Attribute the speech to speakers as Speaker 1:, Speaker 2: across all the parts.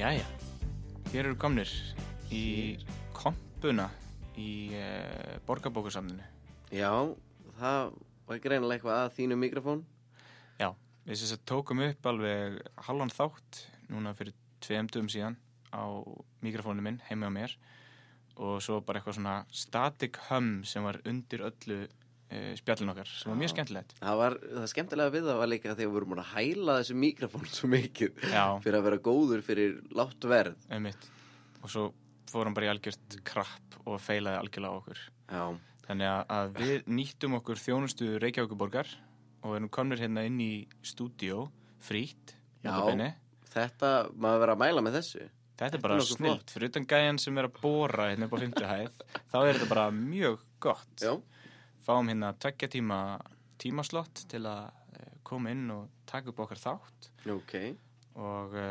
Speaker 1: Jæja, þér eru komnir í kompuna í uh, borgarbókusamninu.
Speaker 2: Já, það var greinilega eitthvað að þínu mikrofón.
Speaker 1: Já, við sem sagt tókum upp alveg halvan þátt núna fyrir tveim dögum síðan á mikrofónu minn heima á mér og svo bara eitthvað svona static hum sem var undir öllu uh, spjallin okkar sem var mjög skemmtilegt.
Speaker 2: Það var, það skemmtilega við það var líka þegar við vorum búin að hæla þessu mikrofón svo mikið
Speaker 1: Já.
Speaker 2: fyrir að vera góður fyrir látt verð.
Speaker 1: Einmitt. Og svo fórum bara í algjört krapp og feilaði algjörlega á okkur.
Speaker 2: Já,
Speaker 1: Þannig að- að við nýttum okkur þjónustu Reykjavíkuborgar og erum komnir hérna inn í stúdíó, frýtt,
Speaker 2: Já. þetta, maður verið að mæla með þessu.
Speaker 1: Þetta er bara
Speaker 2: nokkuð
Speaker 1: snilt, fyrir utan gæjan sem er að bóra hérna upp á 50 hæð, þá er þetta bara mjög gott.
Speaker 2: Já,
Speaker 1: Fáum hérna tveggja tíma tímaslott til að eh, koma inn og taka upp okkar þátt
Speaker 2: ok.
Speaker 1: og uh,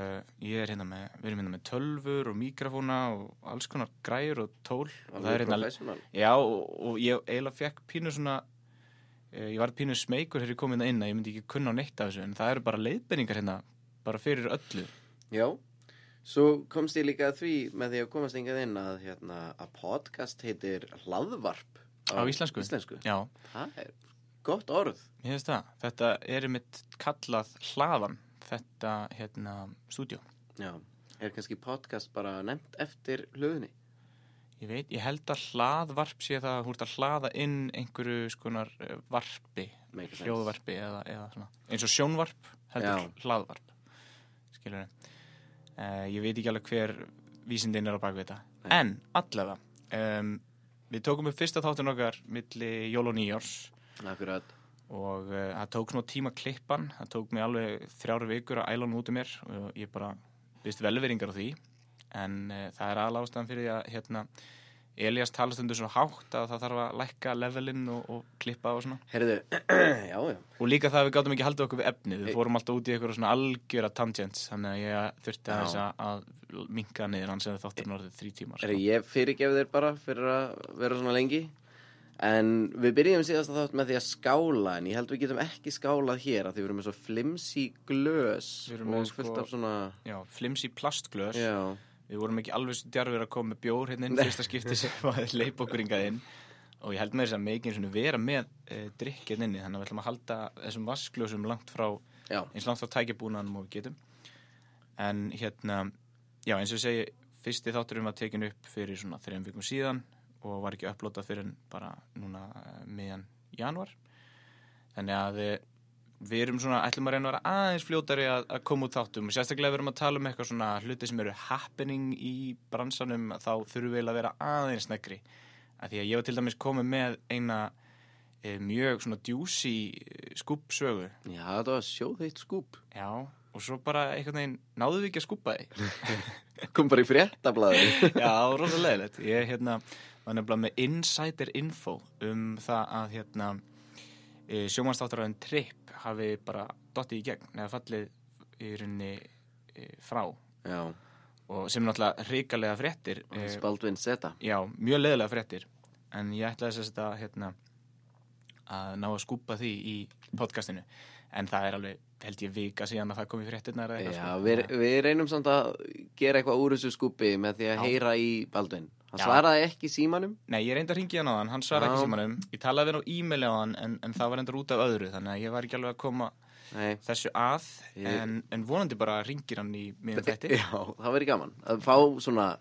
Speaker 1: ég er hérna með, við erum hérna með tölfur og mikrofóna og alls konar græjur og tól og það er
Speaker 2: Alveg
Speaker 1: hérna
Speaker 2: professional.
Speaker 1: Já, og, og ég eiginlega fekk pínu svona eh, ég var pínu smeykur þegar ég kom hérna inn að ég myndi ekki kunna á neitt af þessu en það eru bara leiðbenningar hérna bara fyrir öllu
Speaker 2: Já, svo komst ég líka að því með því að komast yngað inn að, hérna, að podcast heitir hlaðvarp.
Speaker 1: á, íslensku.
Speaker 2: Íslensku.
Speaker 1: Já,
Speaker 2: Það er gott orð.
Speaker 1: mér finnst það. Þetta er mitt kallað hlaðan þetta hérna stúdjó.
Speaker 2: Já, er kannski podcast bara nefnt eftir hlöðinni.
Speaker 1: Ég veit, ég held að hlaðvarp sé það að hú ert að hlaða inn einhverju skonar eh, varpi,
Speaker 2: Make sense.
Speaker 1: hljóðvarpi eða, eða svona, eins og sjónvarp heldur
Speaker 2: Já.
Speaker 1: hlaðvarp, skilur þið. ég veit ekki alveg hver vísindin er á baku þetta,
Speaker 2: Nei.
Speaker 1: en allavega, um, við tókum upp fyrsta þáttin okkar milli jól og nýjórs
Speaker 2: Akkurat.
Speaker 1: og eh, það tók svona tíma að klippa hann, það tók mig alveg þrjára vikur að æla hann út um mér og ég bara byrst velveringar á því en uh, það er aðal ástæðan fyrir því að hérna, Elias talast undir svo hátt að það þarf að lækka levelinn og, og klippa og svona
Speaker 2: Herðu, já, já.
Speaker 1: og líka það að við gátum ekki haldið okkur við efnið
Speaker 2: Eh.
Speaker 1: við fórum alltaf út í eitthvað svona algjöra tangents þannig að ég þurfti
Speaker 2: Já.
Speaker 1: aðeins að að minka niður hans eða þáttur orðið þrý tímar
Speaker 2: Herðu,
Speaker 1: sko.
Speaker 2: ég fyrirgef þér bara fyrir að vera svona lengi. En við byrjum síðast að þátt með því að skála, en ég held við getum ekki skálað hér að því við erum með svo flimsi glös
Speaker 1: Við erum með
Speaker 2: og
Speaker 1: sko-
Speaker 2: fullt af svona...
Speaker 1: Já, flimsi plastglös
Speaker 2: Já,
Speaker 1: Við vorum ekki alveg svo djarfir að koma með bjór hérna inn fyrsta skipti sem var leip okkur ingað inn og ég held með þess að megin svona vera með e, drikk hérna inni þannig að við ætlum að halda þessum vaskljósum langt frá
Speaker 2: já,
Speaker 1: eins langt frá tækjabúnanum og við getum en hérna já eins og ég segi fyrsti þátturum var tekin upp fyrir svona þrejum vikum síðan og var ekki upplotað fyrir en bara núna eh, miðjan januar þannig að eh, við erum svona, ætlum að reyna að vera aðeins fljótari að, að koma út þáttum og sérstaklega ef við erum að tala um eitthvað svona hluti sem eru happening í bransanum þá þurfum við eiginlega að vera aðeins neggri af því að ég var til dæmis komið með eina e, mjög svona djúsi skúpsögu
Speaker 2: já, þetta var sjóð heitt skúp.
Speaker 1: já, og svo bara einhvern veginn náðum við ekki að skúpa því
Speaker 2: Kom bara í fréttablaði.
Speaker 1: já, rosalegilegt ég hérna, var nefnilega með insider info um það að hérna e, sjómanstáttaröðin Tripp hafi bara dottið í gegn eða fallið í rauninni e, frá
Speaker 2: já,
Speaker 1: og sem er náttúrulega hrikalega fréttir eh,
Speaker 2: Spaldvin Zeta.
Speaker 1: já, mjög leðilega fréttir en ég ætlaði þess að hérna, að ná að skúpa því í podcastinu en það er alveg, held ég, vika síðan að það kom í fréttirnar eða
Speaker 2: Já,
Speaker 1: eitthvað,
Speaker 2: við,
Speaker 1: sko.
Speaker 2: við reynum samt að gera eitthvað úr þessu skúpi með því að
Speaker 1: Já.
Speaker 2: heyra í Baldvin. Hann
Speaker 1: Já.
Speaker 2: svaraði ekki símanum.
Speaker 1: Nei, ég reyndi að ringi hann á hann, hann svar
Speaker 2: Já.
Speaker 1: ekki símanum ég talaði við hann á e-maili á hann en, en það var endur út af öðru þannig að ég var ekki alveg að koma
Speaker 2: Nei.
Speaker 1: þessu að
Speaker 2: Ég-
Speaker 1: en, en vonandi bara ringir hann í um miðum þetta
Speaker 2: Já, það verður gaman að fá svona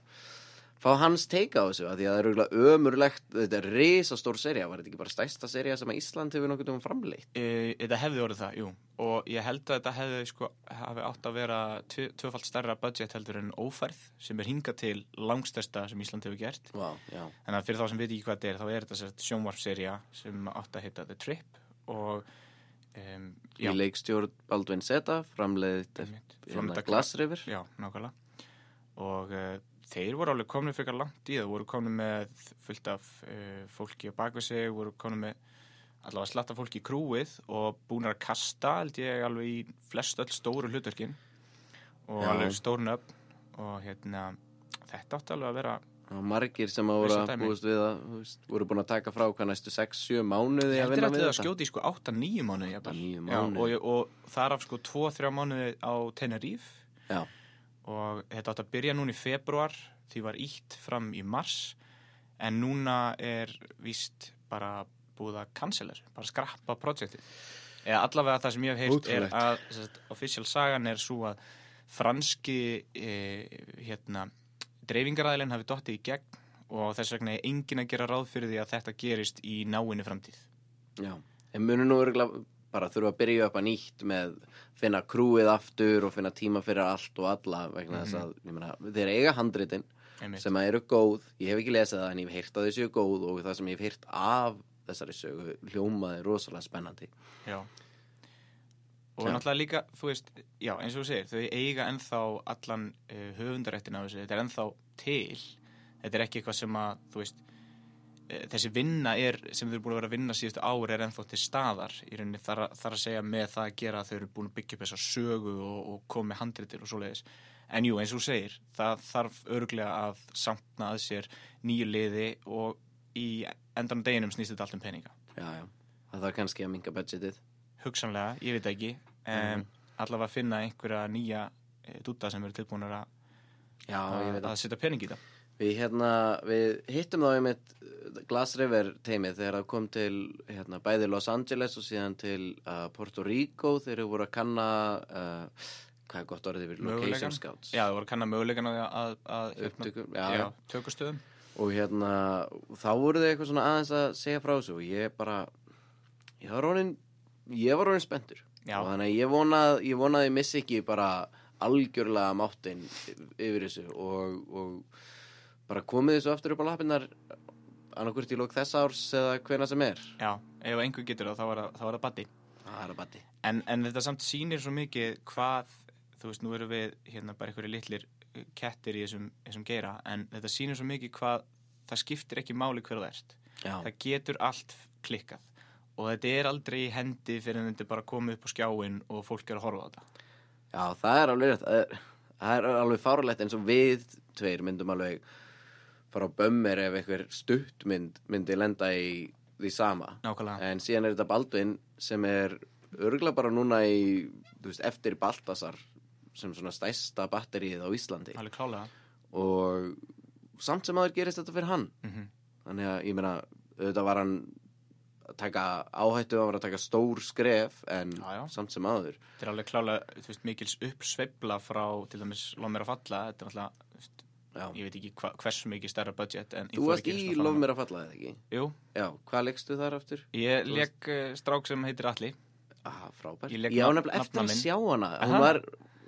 Speaker 2: fá hans teika á þessu, að því að það er auðvitað ömurlegt, þetta er risastór serja var þetta ekki bara stærsta serja sem að Ísland hefur nokkuð um framleitt?
Speaker 1: Eh, Þetta hefði orðið það, jú og ég held að þetta hefði sko, hafi átt að vera tvö- tvöfalt stærra budget heldur en ófærð sem er hingað til langstærsta sem Ísland hefur gert
Speaker 2: Vá, já,
Speaker 1: en að fyrir þá sem veit ekki hvað þetta er þá er þetta sérst sjónvarpserja sem átt að heita The Trip og um, já,
Speaker 2: í leikstjórn Baldwin Zeta, framleitt hérna
Speaker 1: Einmitt. Framleitt
Speaker 2: framleitt
Speaker 1: af
Speaker 2: Glassriver
Speaker 1: já, nákvæmlega og uh, þeir voru alveg komnir fyrir langt í það voru komnir með fullt af uh, fólki á bakvið sig, voru komnir með allavega slatta fólki í krúið og búnir að kasta, held ég, alveg í flest öll stóru hlutverkin og
Speaker 2: Já.
Speaker 1: alveg stórn upp og hérna, þetta átti alveg að vera
Speaker 2: og margir sem að voru
Speaker 1: Veist
Speaker 2: að
Speaker 1: dæmi.
Speaker 2: búist við að þú veist, voru búin að taka frá hvað næstu 6-7 mánuði
Speaker 1: Ég
Speaker 2: að
Speaker 1: heldur
Speaker 2: vinna
Speaker 1: að
Speaker 2: við
Speaker 1: það
Speaker 2: þetta
Speaker 1: skjóti í sko 8-9 mánuði jafnvel.
Speaker 2: 8-9
Speaker 1: Já,
Speaker 2: mánuði.
Speaker 1: og, og þar af sko 2-3 mánuði á Tenerife
Speaker 2: Já,
Speaker 1: og þetta átt að byrja núna í februar því var ítt fram í mars en núna er víst bara búið að canceler bara skrappa projektið eða allavega það sem ég hef heyrt er
Speaker 2: Ótrúlegt.
Speaker 1: að sem sagt, official sagan er svo að franski e, hérna, dreifingaræðilinn hafi dottið í gegn og þess vegna er engin að gera ráð fyrir því að þetta gerist í náinni framtíð
Speaker 2: Já, en munum nú örgulega bara þurfa að byrja upp að nýtt með finna krúið aftur og finna tíma fyrir allt og alla vegna
Speaker 1: Mhm.
Speaker 2: þess að ég meina, þeir eiga handritin
Speaker 1: Einmitt.
Speaker 2: sem að eru góð, ég hef ekki lesið það en ég hef heyrt að þau séu góð og það sem ég hef heyrt af þessari sögu hljómaði rosalega spennandi
Speaker 1: Já. Og
Speaker 2: Já.
Speaker 1: náttúrulega líka, þú veist, já, eins og þú segir, þau eiga ennþá allan uh, höfundaréttin á þessu, þetta er ennþá til, þetta er ekki eitthvað sem að, þú veist, uh, þessi vinna er, sem þau eru búin að vera að vinna síðustu ári er ennþá til staðar, í rauninni þar, að- þar að segja með það að gera að þau eru búin að byggja upp þessa sögu og, og koma með handritir og svoleiðis. En jú, eins og þú segir, það þarf örglega að samtna að sér nýju liði og í endan á deginum snýst þetta allt um peninga.
Speaker 2: Já, já, það þarf kannski að minga budgetið
Speaker 1: hugsanlega, ég veit það ekki
Speaker 2: Mhm.
Speaker 1: um, allavega finna einhverja nýja e, dúta sem eru tilbúinir að,
Speaker 2: Já, ég veit
Speaker 1: að,
Speaker 2: það
Speaker 1: að setja pening í það
Speaker 2: Við, hérna, við hittum þá einmitt uh, Glass River teimið þegar það kom til hérna, bæði Los Angeles og síðan til uh, Puerto Rico þegar þau voru að kanna uh, hvað er gott orðið yfir
Speaker 1: Möguleikann.
Speaker 2: location scouts
Speaker 1: Já, það voru að kanna mögulegan að, að, að hérna,
Speaker 2: upptökum
Speaker 1: já,
Speaker 2: já, já.
Speaker 1: tökustöðum
Speaker 2: og hérna þá voru þau eitthvað svona aðeins að segja frá þessu og ég bara ég var orðin, ég var orðin spenntur
Speaker 1: Já.
Speaker 2: og þannig að ég vonað ég vonað ég missi ekki bara algjörlega máttinn yfir þessu og, og bara komið þessu aftur upp á lappinnar annarkvort í lók þess árs eða hvena sem er
Speaker 1: Já, ef einhver getur það, þá var það, þá var það batti
Speaker 2: það er að bati
Speaker 1: en, en þetta samt sýnir svo mikið hvað, þú veist, nú erum við hérna bara einhverju litlir eh, kettir í þessum, þessum geira, en þetta sýnir svo mikið hvað það skiptir ekki máli hver það ert
Speaker 2: já,
Speaker 1: það getur allt klikkað og þetta er aldrei í hendi fyrir en þetta er bara komið upp á skjáin og fólk er að horfa á þetta
Speaker 2: já, það er alveg rétt. það er, það er alveg fárlegt eins og við tveir myndum alveg fara á bömmir ef einhver stuttmynd myndi lenda í því sama
Speaker 1: Nákvæmlega
Speaker 2: En síðan er þetta Baldvin sem er örgulega bara núna í, þú veist, eftir Baltasar sem svona stæsta batterið á Íslandi
Speaker 1: Alveg klálega
Speaker 2: og samt sem aður gerist þetta fyrir hann
Speaker 1: Mhm.
Speaker 2: þannig að ég meina, auðvitað var hann að taka áhættu, hann var að taka stór skref en
Speaker 1: Já, já.
Speaker 2: samt sem aður
Speaker 1: Þetta er alveg klálega, þú veist, mikils uppsveifla frá til dæmis Lof mér að falla Þetta er náttúrulega, þú veist,
Speaker 2: Já.
Speaker 1: ég veit ekki hva, hversu mikið stærra budget en ég
Speaker 2: Þú
Speaker 1: fór
Speaker 2: varst
Speaker 1: ekki einu
Speaker 2: í
Speaker 1: sinni að fara
Speaker 2: Lof
Speaker 1: hana.
Speaker 2: mér að falla eða ekki?
Speaker 1: um- Jú,
Speaker 2: Já, hvað leggstu þar aftur?
Speaker 1: ég
Speaker 2: Þú varst-
Speaker 1: leik uh, strák sem heitir Alli
Speaker 2: Ah, frábært.
Speaker 1: Ég lék
Speaker 2: Já,
Speaker 1: nafn-
Speaker 2: nefnilega eftir
Speaker 1: nafna
Speaker 2: að
Speaker 1: minn.
Speaker 2: sjá hana. Hún,
Speaker 1: Aha.
Speaker 2: var,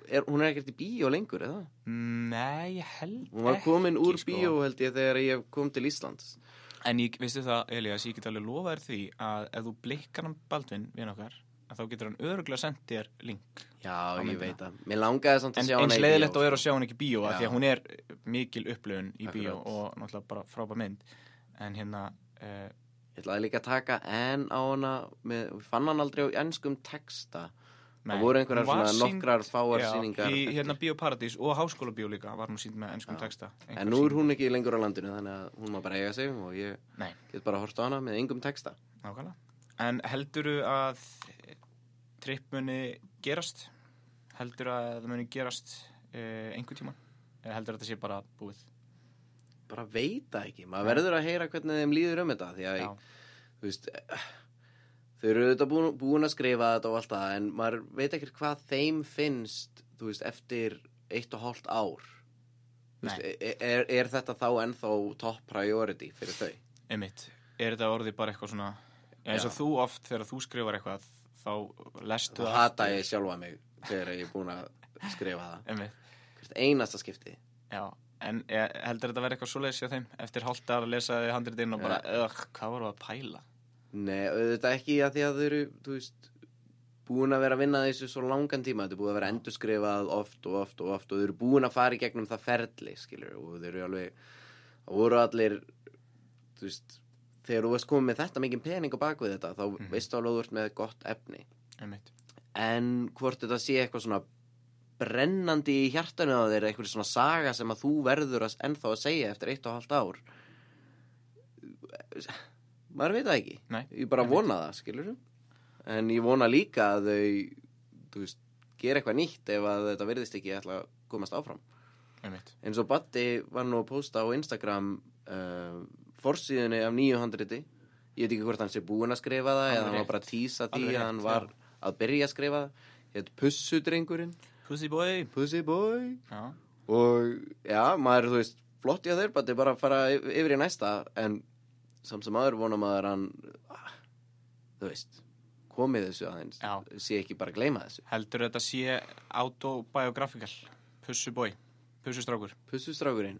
Speaker 2: er, hún er ekkert í bíó lengur, eða?
Speaker 1: Nei, ég held
Speaker 2: Hún var komin úr
Speaker 1: sko.
Speaker 2: bíó, held ég, þegar ég kom til Íslands.
Speaker 1: En ég, veistu það, Elias, ég get alveg lofað þér því að ef þú blikkar hann Baldvin við okkar, að þá getur hann öruglega sendt þér link.
Speaker 2: Já, ég
Speaker 1: myndina.
Speaker 2: veit það. Mér langaði samt að
Speaker 1: En
Speaker 2: sjá
Speaker 1: eins
Speaker 2: í
Speaker 1: leiðilegt
Speaker 2: bíó,
Speaker 1: og er að
Speaker 2: sko.
Speaker 1: sjá hann ekki í bíó,
Speaker 2: Já.
Speaker 1: af því að hún er eh, mikil upplöfun í bíó
Speaker 2: Akkurat.
Speaker 1: og náttúrulega bara frábæð mynd. En hérna, uh,
Speaker 2: Ég ætlaði líka að taka en á hana með, við fann hann aldrei á ennskum texta. það voru einhverjar
Speaker 1: Hún var
Speaker 2: svona
Speaker 1: sýnd-
Speaker 2: nokkrar fáar
Speaker 1: já,
Speaker 2: sýningar.
Speaker 1: Í hérna bíóparadís og háskólabíó líka var hún sínd með ennskum texta.
Speaker 2: En nú er hún ekki lengur á landinu, þannig að hún má bara eiga sig og ég
Speaker 1: Nei,
Speaker 2: get bara að horta á hana með engum texta.
Speaker 1: nákvæmlega. En helduru að tripp muni gerast? Heldur að það muni gerast uh, einhver tíma? Eða heldur að þetta sé bara búið?
Speaker 2: Bara veit það ekki. Maður verður að heyra hvernig þeim líður um þetta, því að,
Speaker 1: Já.
Speaker 2: þú veist, eh, þau eru auðvitað búin, búin að skrifa þetta og allt það, en maður veit ekkert hvað þeim finnst, þú veist, eftir eitt og hálft ár. Þú
Speaker 1: Nei.
Speaker 2: veist, e- Er, er þetta þá ennþá top priority fyrir þau?
Speaker 1: Einmitt, er þetta orðið bara eitthvað svona Já, eins og
Speaker 2: Já.
Speaker 1: þú oft þegar þú skrifar eitthvað þá lestu
Speaker 2: Þú
Speaker 1: það
Speaker 2: hata
Speaker 1: aftur.
Speaker 2: ég sjálfa mig þegar ég er búin að skrifa það.
Speaker 1: Einmitt,
Speaker 2: Hvert einasta skipti.
Speaker 1: já En eh, heldur þetta að vera eitthvað svoleiðis hjá þeim eftir hálft að lesa þið handritinn og bara ögh, hvað voru að pæla?
Speaker 2: Nei, auðvitað ekki að því að þau eru, þú veist, búin að vera að vinna að þessu svo langan tíma. Þetta er búin að vera endurskrifað oft og oft og oft og þau eru búin að fara í gegnum það ferli, skilur. Og þau eru alveg, það voru allir, þú veist, þegar þú veist komið með þetta mikið pening á bakvið þetta, þá veistu alveg að þú ert með gott efni.
Speaker 1: Einmitt,
Speaker 2: En hvort þetta sé eitthvað svona brennandi í hjartanu á þér, eitthvað svona saga sem að þú verður að ennþá að segja eftir eitt og halvt ár, maður veit það ekki.
Speaker 1: Nei,
Speaker 2: ég bara
Speaker 1: einmitt.
Speaker 2: vona það, skilur En ég vona líka að þau, þú veist, gera eitthvað nýtt ef að þetta verðist ekki ætla að komast áfram
Speaker 1: einmitt.
Speaker 2: eins og Batti var nú að posta á Instagram uh, forsíðunni af 900 ég veit ekki hvort hann sé búinn að skrifa það
Speaker 1: Alveg
Speaker 2: eða hann
Speaker 1: rétt.
Speaker 2: var bara að tísa því
Speaker 1: Alveg
Speaker 2: að
Speaker 1: rétt,
Speaker 2: hann var að byrja að skrifa það hétt Pussudrengurinn
Speaker 1: Pussy boy
Speaker 2: Pussy boy
Speaker 1: Já,
Speaker 2: og já, maður, þú veist, flott í að þeir Batti bara að fara yf- yfir í næsta en samt sem aður vona maður að hann ah, þú veist komið þessu aðeins,
Speaker 1: Já.
Speaker 2: sé ekki bara að gleyma þessu
Speaker 1: heldur þetta sé autobiographical Pussy boy, pussustrákur
Speaker 2: Pussustrákurinn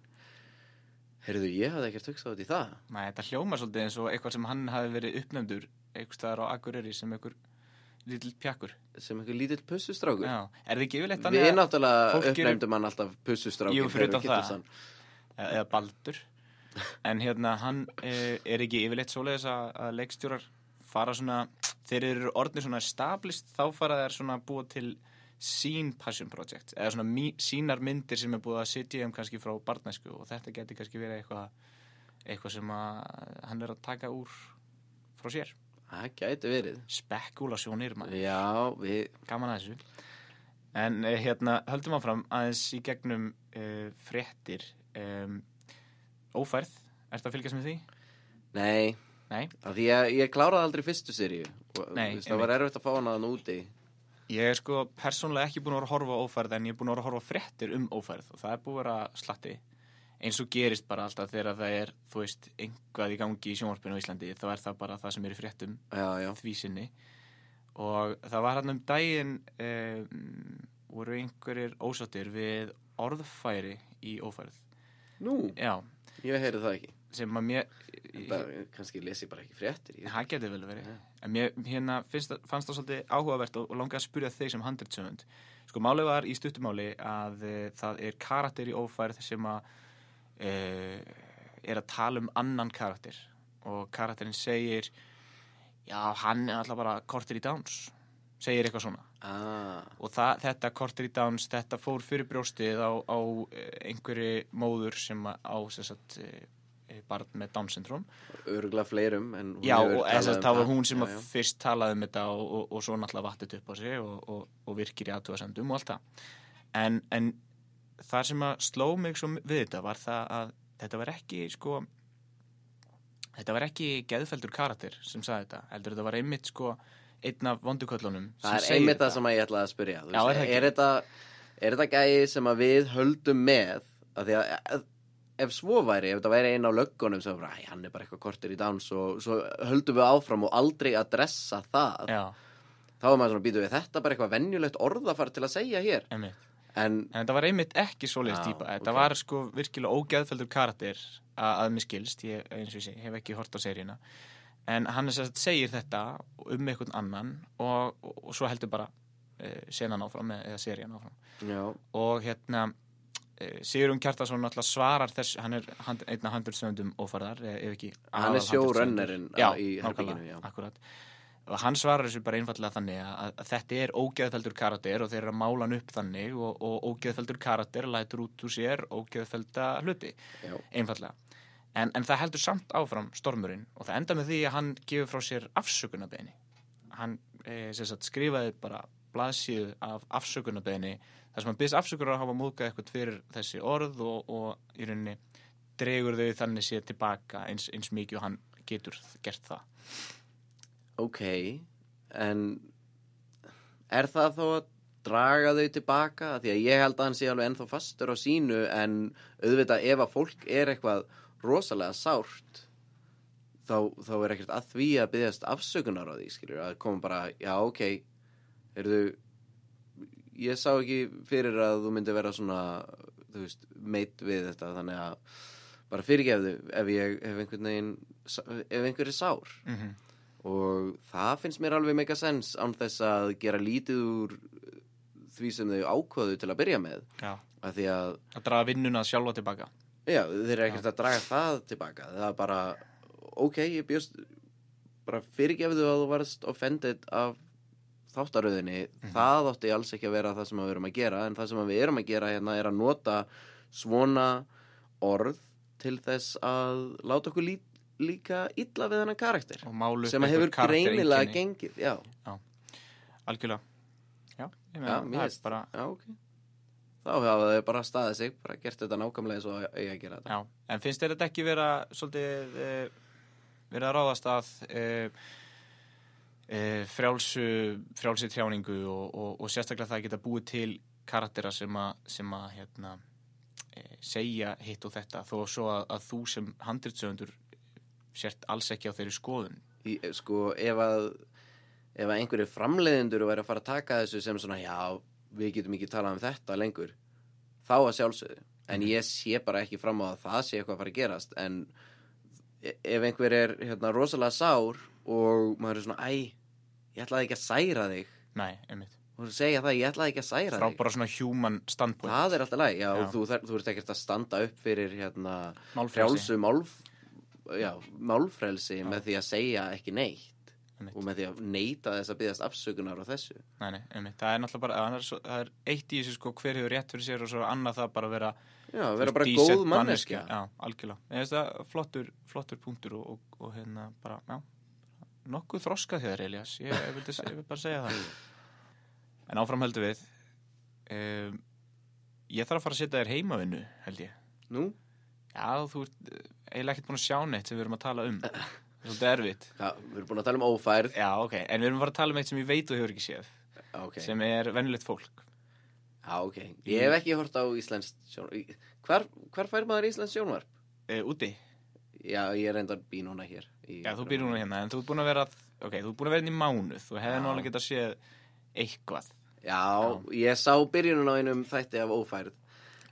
Speaker 2: Heyrðu, ég hafði ekkert hugsað út í það
Speaker 1: Nei, þetta hljóma svolítið eins og eitthvað sem hann hafi verið uppnefndur einhvers staðar á Akureyri sem einhver lítill pjakkur
Speaker 2: sem einhver lítill pussustrákur
Speaker 1: Já, er þið ekki yfirleitt
Speaker 2: Við
Speaker 1: að-
Speaker 2: náttúrulega
Speaker 1: fólk eru-
Speaker 2: uppnefndum hann alltaf pussustrákinn
Speaker 1: Jú, fyrir
Speaker 2: þegar
Speaker 1: utan
Speaker 2: við
Speaker 1: það.
Speaker 2: kynntumst hann.
Speaker 1: eða eða Baldur en hérna, hann eh, er ekki yfirleitt svoleiðis að, að leikstjórar fara svona, þeir eru orðnir svona stablist, þá fara þeir svona að búa til sín passion project eða svona mí, sínar myndir sem er búið að sitja um kannski frá barnæsku og þetta geti kannski verið eitthvað eitthvað sem að hann er að taka úr frá sér,
Speaker 2: Það gæti verið
Speaker 1: spekulasjónir maður
Speaker 2: Já, við
Speaker 1: gaman að þessu en eh, hérna höldum áfram aðeins í gegnum uh, fréttir um, ófærð, ertu að fylgjast með því?
Speaker 2: Nei,
Speaker 1: Nei,
Speaker 2: af því að ég kláraði aldrei fyrstu seríu Og,
Speaker 1: Nei,
Speaker 2: þú veist, Það var erfitt að fá hann að hann úti
Speaker 1: ég er sko persónulega ekki búin að vera að horfa á ófærð en ég er búin að vera að horfa á fréttir um ófærð og það er búin að vera slatti eins og gerist bara alltaf þegar það er þú veist, einhvað í gangi í sjónvarpinu á Íslandi þá er það bara það sem er í fréttum
Speaker 2: Já, já,
Speaker 1: því sinni og það var hann um daginn um, voru einhverjir ósáttir við orðfæri í ófærð
Speaker 2: nú,
Speaker 1: Já,
Speaker 2: ég heyrði það ekki
Speaker 1: sem að mér
Speaker 2: það, Kannski les ég bara ekki fréttir ég...
Speaker 1: það geti vel verið
Speaker 2: Já.
Speaker 1: en mér hérna finnst, það- fannst það svolítið áhugavert og, og langið að spyrja þig sem handritsöfund sko málið var í stuttumáli að e, það er karakter í ófærð sem að e, er að tala um annan karakter og karakterinn segir já hann er alltaf bara kortir í dáns segir eitthvað svona
Speaker 2: ah,
Speaker 1: og það, þetta korter í dáns, þetta fór fyrir brjóstið á, á eh, einhverri móður sem að- á sem sagt, eh, eh, barn með Down syndrom
Speaker 2: Örgla fleirum en hún
Speaker 1: já
Speaker 2: hefur
Speaker 1: og
Speaker 2: talað
Speaker 1: þess að
Speaker 2: um
Speaker 1: það var hún sem
Speaker 2: Já,
Speaker 1: að
Speaker 2: já.
Speaker 1: fyrst talaði um þetta og, og, og svo náttúrulega vattit upp á sig og, og, og virkir í aðtúasendum og allt það en, en það sem að sló mig svo við þetta var það að þetta var ekki sko þetta var ekki geðfeldur karakter sem sagði þetta, heldur þetta var einmitt sko einn af vonduköllunum sem
Speaker 2: Það er
Speaker 1: segir
Speaker 2: einmitt það
Speaker 1: þetta.
Speaker 2: sem að ég ætlaði að spyrja Þú
Speaker 1: Já, er það ekki?
Speaker 2: er, þetta, er þetta gæi sem að við höldum með af því að að- ef svo væri, ef þetta væri einn á löggunum sem bara, "Æ, hann er bara eitthvað kortir í dans og svo höldum við áfram og aldrei að dressa það
Speaker 1: já,
Speaker 2: þá er maður svona býtu við þetta bara eitthvað venjulegt orðafar til að segja hér
Speaker 1: einmitt
Speaker 2: en
Speaker 1: En þetta var einmitt ekki svoleiðis
Speaker 2: Já,
Speaker 1: típa. Þetta
Speaker 2: ok.
Speaker 1: var sko virkilega ógeðfeldur karakter að, að mér skilst, ég, eins og ég sé, hef ekki hort á seríuna. En hann sem sagt segir þetta um einhvern annan og, og, og svo heldur bara uh, senan áfram eða- eða serían áfram.
Speaker 2: já,
Speaker 1: Og hérna, uh, Sigurum Kjartason náttúrulega svarar þess, hann er hand, einn af handurstönundum ófarðar, eða ef ekki.
Speaker 2: Hann er
Speaker 1: aðal
Speaker 2: showrunnerinn
Speaker 1: handritshöfundur. Já,
Speaker 2: í
Speaker 1: nákvæmlega,
Speaker 2: herberginu, já.
Speaker 1: Akkurat. Og hann svarar þessu bara einfallega þannig að, að þetta er ógeðfeldur karakter og þeir eru að mála hann upp þannig og, og ógeðfeldur karakter lætur út úr sér ógeðfelda hluti,
Speaker 2: já,
Speaker 1: einfallega. En, en það heldur samt áfram stormurinn og það enda með því að hann gefur frá sér afsökunarbeini. Hann eh, sem sagt, skrifaði bara blaðsíðu af afsökunarbeini þar sem hann byrðist afsökunar að hafa múðgað eitthvað fyrir þessi orð og, og í rauninni dregur þau þannig sér tilbaka eins, eins mikið og hann getur gert það.
Speaker 2: ok en er það þó að draga þau tilbaka Af því að ég held að hann sé alveg ennþá fastur á sínu en auðvitað ef að fólk er eitthvað rosalega sárt þá, þá er ekkert að því að byggjast afsökunar á því skilur að koma bara, já ok erðu ég sá ekki fyrir að þú myndi vera svona þú veist, meitt við þetta þannig að bara fyrirgefðu ef ég, ef einhvern veginn ef einhver er sár
Speaker 1: Mm -hmm.
Speaker 2: og það finnst mér alveg mega sens án þess að gera lítið úr uh, því sem þau ákvaðu til að byrja með
Speaker 1: Já.
Speaker 2: af því að,
Speaker 1: Að draga vinnuna sjálfa tilbaka.
Speaker 2: já, þeir eru ekkert að draga það tilbaka, það er bara ok, ég bjóst bara fyrirgefðu að þú varst offended af þáttaröðinni það átti alls ekki að vera það sem við erum að gera en það sem við erum að gera hérna er að nota svona orð til þess að láta okkur lí líka illa við hennar karakter
Speaker 1: Og málu upp
Speaker 2: sem að
Speaker 1: einhver
Speaker 2: hefur
Speaker 1: karaktereinkenni.
Speaker 2: greinilega gengið, já
Speaker 1: Algjörlega. Já, ég meina,
Speaker 2: Já,
Speaker 1: það
Speaker 2: mér
Speaker 1: er
Speaker 2: finnst-
Speaker 1: bara,
Speaker 2: Já, ok. þá hafa þau bara staðið sig bara gert þetta nákvæmlega eins og eiga að gera þetta
Speaker 1: Já, en finnst þér þetta ekki vera svolítið e, verið að ráðast að e, e, frjálsu frjálsu trjáningu og, og, og sérstaklega það að geta búið til karaktera sem að, sem að hérna, e, segja hitt og þetta þó svo að, að þú sem handritsöfundur sért alls ekki á þeirri skoðun
Speaker 2: í, sko ef að ef að einhverju framleiðendur væri að fara að taka þessu sem svona já við getum ekki talað um þetta lengur þá að sjálfsögðu
Speaker 1: Mhm.
Speaker 2: en ég sé bara ekki fram á að það sé eitthvað að fara að gerast en e- ef einhver er hérna rosalega sár og maður er svona æ ég ætlaði ekki að særa þig
Speaker 1: Nei, einmitt
Speaker 2: og segja það ég ætlaði ekki að særa
Speaker 1: Frá
Speaker 2: þig
Speaker 1: bara svona human standpoint
Speaker 2: það er alltaf læg já,
Speaker 1: Já.
Speaker 2: og þú, þar, þú ert ekkert að standa upp fyrir hérna
Speaker 1: Málfrelsi.
Speaker 2: frjálsu málf, já, málfrelsi með því að segja ekki neitt
Speaker 1: Einmitt.
Speaker 2: og með því að neita þess að byggðast afsökunar á þessu
Speaker 1: Nei, nei, einmitt, það er náttúrulega bara það er, svo, það er eitt í þessu sko hver hefur rétt fyrir sér og svo annað það bara að vera þú
Speaker 2: já, vera
Speaker 1: veist,
Speaker 2: bara
Speaker 1: decent
Speaker 2: góð manneskja
Speaker 1: Já, algjörlega. Ég veist það, flottur, flottur punktur og, og, og hérna bara, já, nokkuð þroskað hér, Elias. Ég, ég, vildi, se- ég vil bara segja það. En áfram höldum við. Um, ég þarf að fara að setja þér heimavinnu, held ég.
Speaker 2: nú,
Speaker 1: Já, þú ert eh, eiginlega ekkert búin að sjá neitt sem við erum að tala um. Það er svolítið erfitt.
Speaker 2: hva, við erum búin að tala um ófærð
Speaker 1: Já, ok, en við erum að fara að tala um eitt sem ég veit og hefur ekki séð,
Speaker 2: ok,
Speaker 1: sem er venjulegt fólk.
Speaker 2: já, ok ég hef ekki hort á Íslands sjónvarp hvar, hvar fær maður Íslands sjónvarp?
Speaker 1: Uh, úti,
Speaker 2: já, ég er reyndar bí núna hér í-
Speaker 1: já, þú býr núna hérna, en þú ert búin að vera, ok, þú ert búin að vera hérna í mánuð, þú hefði
Speaker 2: Já.
Speaker 1: nú alveg getað séð eitthvað.
Speaker 2: já, ég sá byrjunum á einum þætti af ófærð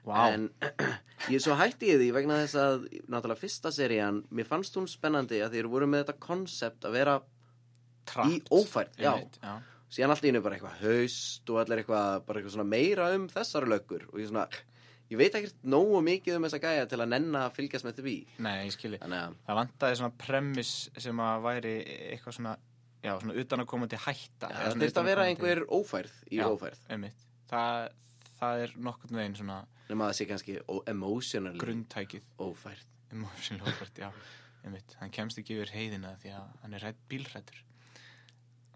Speaker 1: Vá.
Speaker 2: En ég svo hætti ég því vegna þess að náttúrulega fyrsta serían, mér fannst hún spennandi að þeir voru með þetta konsept að vera
Speaker 1: Trapped.
Speaker 2: í ófært, já.
Speaker 1: Einmitt, já.
Speaker 2: Síðan allt í einu bara eitthvað haust og allir eitthvað, bara eitthvað svona meira um þessar löggur og ég svona, ég veit ekkert nógu mikið um þessa gæja til að nenn að fylgjast með því.
Speaker 1: Nei, ég skilji.
Speaker 2: Þannig að,
Speaker 1: Það vantaði svona premiss sem að væri eitthvað svona, já, svona utan að koma til hætta.
Speaker 2: já, það þurfti að vera einhver ófærð í
Speaker 1: Já.
Speaker 2: ófærð,
Speaker 1: Einmitt. Það, það er nokkurn veginn svona
Speaker 2: nema að það sé kannski ó- emotionally
Speaker 1: grunntækið
Speaker 2: ófærð.
Speaker 1: um Morfinn Lófert, já. Einmitt. Hann kemst ekki yfir heiðina því að hann er rætt bílrættur.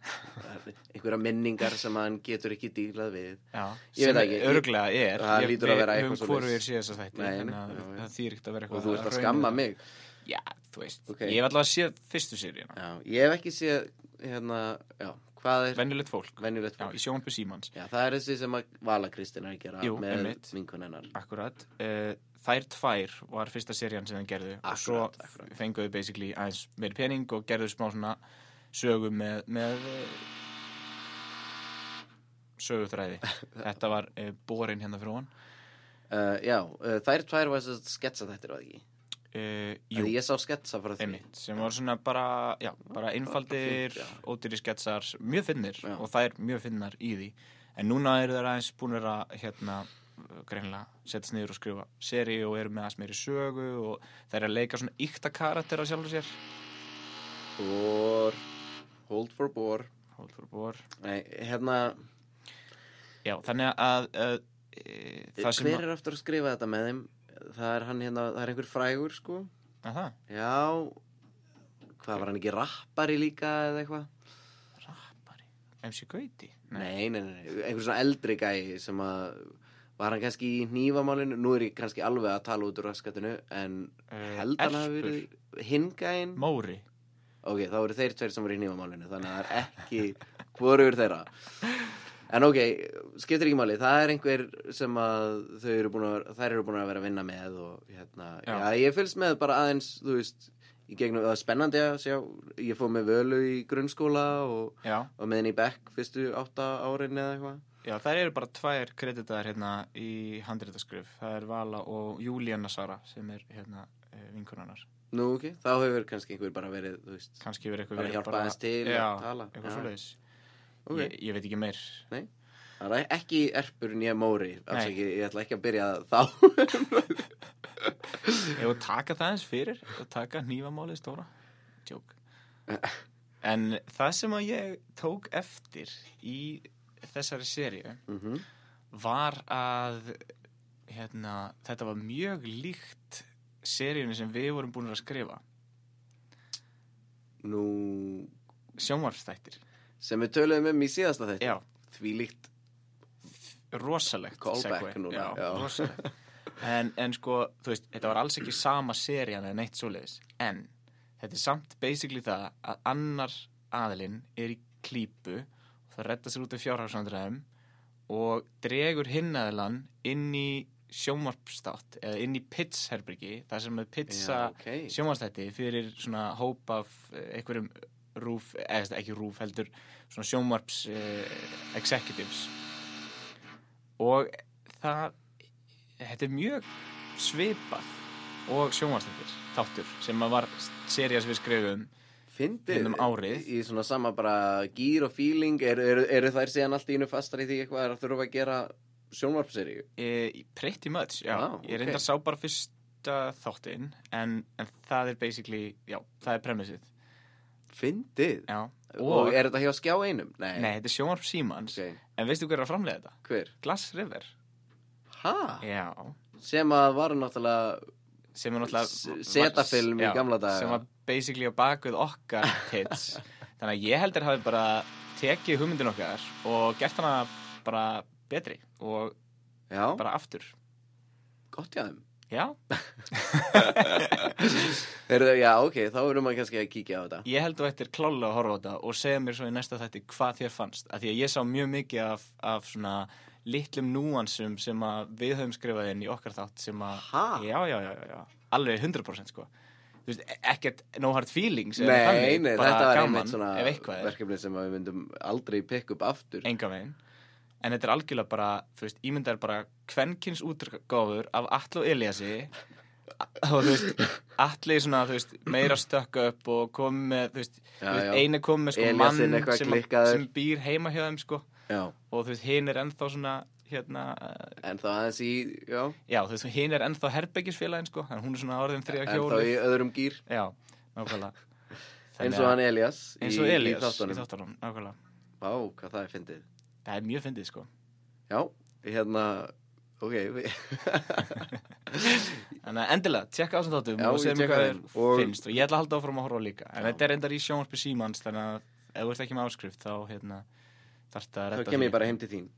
Speaker 2: Það er Einhverja minningar sem hann getur ekki dílað við.
Speaker 1: Já,
Speaker 2: Ég veit
Speaker 1: sem
Speaker 2: ekki, ég-
Speaker 1: Örglega er.
Speaker 2: Það hlýtur að vera
Speaker 1: svoleiðis.
Speaker 2: eitthvað
Speaker 1: Við höfum hvoru
Speaker 2: svoleiðis.
Speaker 1: við séð þess að þetta.
Speaker 2: Nei,
Speaker 1: þannig
Speaker 2: nei,
Speaker 1: að
Speaker 2: já, já.
Speaker 1: Það þýr ekkert að vera
Speaker 2: Og
Speaker 1: eitthvað.
Speaker 2: þú ert að
Speaker 1: rauna
Speaker 2: skamma
Speaker 1: það.
Speaker 2: mig.
Speaker 1: Já, þú veist.
Speaker 2: Ok.
Speaker 1: Ég hef alltaf að séð fyrstu seríuna.
Speaker 2: Já, ég hef ekki séð hérna, já, hvað er
Speaker 1: Venjulegt fólk.
Speaker 2: venjulegt
Speaker 1: Já,
Speaker 2: fólk?
Speaker 1: í sjónpu Símans.
Speaker 2: Já, það er þessi sem að Vala Kristina er að gera
Speaker 1: Jú,
Speaker 2: með
Speaker 1: einmitt.
Speaker 2: vinkunennar.
Speaker 1: Akkurat. Uh, þær tvær var fyrsta serían sem þeim gerðu og svo
Speaker 2: Akkurat, akkurat.
Speaker 1: fenguðu basically aðeins meiri pening og gerðu smá svona sögu með, með uh, söguþræði. Þetta var uh, borin hérna fyrir hann.
Speaker 2: Uh, já, uh, þær tvær var þess að sketsa þetta, var það ekki?
Speaker 1: Uh,
Speaker 2: Jú.
Speaker 1: jú,
Speaker 2: Ég sá sketsa frá því.
Speaker 1: einmitt, sem voru svona bara, já, bara einfaldir,
Speaker 2: fínt, já.
Speaker 1: ódýri sketsar, mjög finnir
Speaker 2: Já.
Speaker 1: og þær mjög finnar í því. En núna eru þær aðeins búin að vera, hérna, uh, greinilega setjast niður og skrifa seri og eru með aðeins meiri sögu og þær eru að leika svona ykta karakter af sjálfur sér.
Speaker 2: Bor, hold for bor.
Speaker 1: Hold for Boar
Speaker 2: Nei, hérna,
Speaker 1: Já, þannig að uh, e, það sem
Speaker 2: hver er aftur að skrifa þetta með þeim? Það er hann hérna, það er einhver frægur, sko.
Speaker 1: að, að,
Speaker 2: Já, hvað var hann ekki rappari líka eða eitthvað?
Speaker 1: það, rappari, MC Gauti Nei,
Speaker 2: Nei, nei, nei, nei. einhver svona eldri gæi sem að var hann kannski í nýfamálinu, nú er ég kannski alveg að tala út úr raskatinu, en
Speaker 1: Eh,
Speaker 2: held hann hafi
Speaker 1: Erpur.
Speaker 2: verið hingæin.
Speaker 1: Móri
Speaker 2: Ok, þá eru þeir tveir sem voru í nýfamálinu, þannig að það er ekki hvorur þeirra. En ok, skiptir ekki máli, það er einhver sem að þau eru búin að, þær eru búin að vera að vinna með og hérna, já,
Speaker 1: Já.
Speaker 2: ég fylgst með bara aðeins, þú veist, í gegnum, það er spennandi að sjá, ég fóð með völu í grunnskóla og,
Speaker 1: Já,
Speaker 2: og með henni í bekk fyrstu átta árin eða eitthvað.
Speaker 1: já þær eru bara tvær kreditaðar hérna í handritaskrif Það er Vala og Júlíanna Sara sem er hérna eh, vinkonunnar
Speaker 2: Nú, ok, þá hefur kannski einhver bara verið, þú veist,
Speaker 1: Kannski verið eitthvað
Speaker 2: Bara
Speaker 1: verið
Speaker 2: hjálpa aðeins til að
Speaker 1: Já,
Speaker 2: tala.
Speaker 1: eitthvað
Speaker 2: Já.
Speaker 1: svoleiðis
Speaker 2: ok,
Speaker 1: ég, ég veit ekki meir
Speaker 2: nei. Það er ekki erpur nýja móri, alls
Speaker 1: Nei.
Speaker 2: ekki, ég ætla ekki að byrja þá.
Speaker 1: Ef þú taka það eins fyrir og taka nýfamálið stóra Jók En það sem að ég tók eftir í þessari seríu
Speaker 2: mm
Speaker 1: var að hérna, þetta var mjög líkt seríunni sem við vorum búin að skrifa
Speaker 2: Nú,
Speaker 1: sjónvarfstættir
Speaker 2: sem við töluðum um í síðasta þetta,
Speaker 1: já,
Speaker 2: því líkt
Speaker 1: rosalegt
Speaker 2: Callback
Speaker 1: segue.
Speaker 2: núna,
Speaker 1: já,
Speaker 2: já.
Speaker 1: rosalegt en, en sko, þú veist, þetta var alls ekki sama serían eða neitt svoleiðis en þetta er samt basically það að annar aðilinn er í klípu það redda sér út af fjárhagsvandræðum og dregur hinn aðilann inn í sjónvarpstátt eða inn í pitsherbyrgi þar sem þau pitsa
Speaker 2: Já, ok.
Speaker 1: sjónvarpstætti fyrir svona hóp af eh, einhverjum rúf, eða sem sagt, ekki rúf heldur svona sjónvarps eh, executives og það þetta er mjög svipað og sjónvarstættir þáttur sem að var serið sem við skrifum
Speaker 2: Fyndið
Speaker 1: Finnum árið.
Speaker 2: í í svona sama bara gýr og feeling eru er, er þær síðan allt í einu fastar í því eitthvað er að þurfa að gera sjónvarpseríu
Speaker 1: e, pretty much, já,
Speaker 2: Vá,
Speaker 1: ég
Speaker 2: ok.
Speaker 1: reyndar sá bara fyrsta þáttinn en, en það er basically, já, það er premissið
Speaker 2: Fyndið
Speaker 1: já,
Speaker 2: og, er þetta hjá skjá einum? Nei,
Speaker 1: nei, þetta er sjónvarp símans
Speaker 2: Ok.
Speaker 1: en veistu hver er að framlega þetta?
Speaker 2: Hver?
Speaker 1: Glass River,
Speaker 2: Ha?
Speaker 1: já
Speaker 2: Sem að var náttúrulega
Speaker 1: sem er náttúrulega
Speaker 2: S- setafilm í
Speaker 1: Já,
Speaker 2: gamla daga.
Speaker 1: sem var basically á bakvið okkar hits þannig að ég heldur hafi bara tekið hugmyndin okkar og gert hana bara betri og
Speaker 2: Já,
Speaker 1: bara aftur
Speaker 2: gott hjá þeim
Speaker 1: já,
Speaker 2: Heyrðu, Já, ok, þá erum maður kannski að kíkja á þetta
Speaker 1: ég held þú ættir klálega að horfa á þetta og segja mér svo í næsta þætti hvað þér fannst af því að ég sá mjög mikið af, af svona litlum núansum sem að við höfum skrifað inn í okkar þátt sem að,
Speaker 2: Ha?
Speaker 1: já, já, já, já, já, alveg 100% sko, þú veist, e- ekkert no hard feelings eða
Speaker 2: Nei, nei,
Speaker 1: bara
Speaker 2: þetta var
Speaker 1: gaman,
Speaker 2: einmitt svona
Speaker 1: ef eitthvað er,
Speaker 2: verkefni sem að við myndum aldrei pikk upp aftur
Speaker 1: enga veginn en þetta er algjörlega bara, þú veist, ímyndar bara kvenkins útgáfur af Atla og Eliassi og þú veist, Atli svona, þú veist, meira stökka upp og komið með, þú veist,
Speaker 2: Já,
Speaker 1: þú veist
Speaker 2: já.
Speaker 1: eina komið með sko
Speaker 2: Elíasinn
Speaker 1: mann
Speaker 2: eitthvað
Speaker 1: sem,
Speaker 2: klikkaður.
Speaker 1: sem býr heima hjá þeim sko
Speaker 2: Já,
Speaker 1: og þú veist, hinn er ennþá svona, hérna, uh,
Speaker 2: en þá aðeins í, já
Speaker 1: já, þú veist, hinn er ennþá herbergisfélagin sko, en hún er svona orðin þrjá
Speaker 2: En þá
Speaker 1: hjólu,
Speaker 2: í öðrum gýr
Speaker 1: já, nákvæmlega.
Speaker 2: Eins og hann Elias í-
Speaker 1: eins og Elias
Speaker 2: í þáttunum
Speaker 1: þáttunum, nákvæmlega.
Speaker 2: Vá, hvað það er fyndið
Speaker 1: Það er mjög fyndið sko.
Speaker 2: Já, hérna, ok við-
Speaker 1: Þannig að endilega, tjekka á þessum þáttum
Speaker 2: Já,
Speaker 1: og
Speaker 2: ég
Speaker 1: segja mér
Speaker 2: tjekka
Speaker 1: hvað
Speaker 2: þeim.
Speaker 1: þér
Speaker 2: Og-
Speaker 1: finnst og ég ætla að halda áfram að horfa á líka en
Speaker 2: Já.
Speaker 1: þetta er endar í sjónvarpi símans þannig að ef þú ert ekki með áskrift þá hérna, þarf þetta að
Speaker 2: Þá
Speaker 1: redda
Speaker 2: kem ég bara heim til þín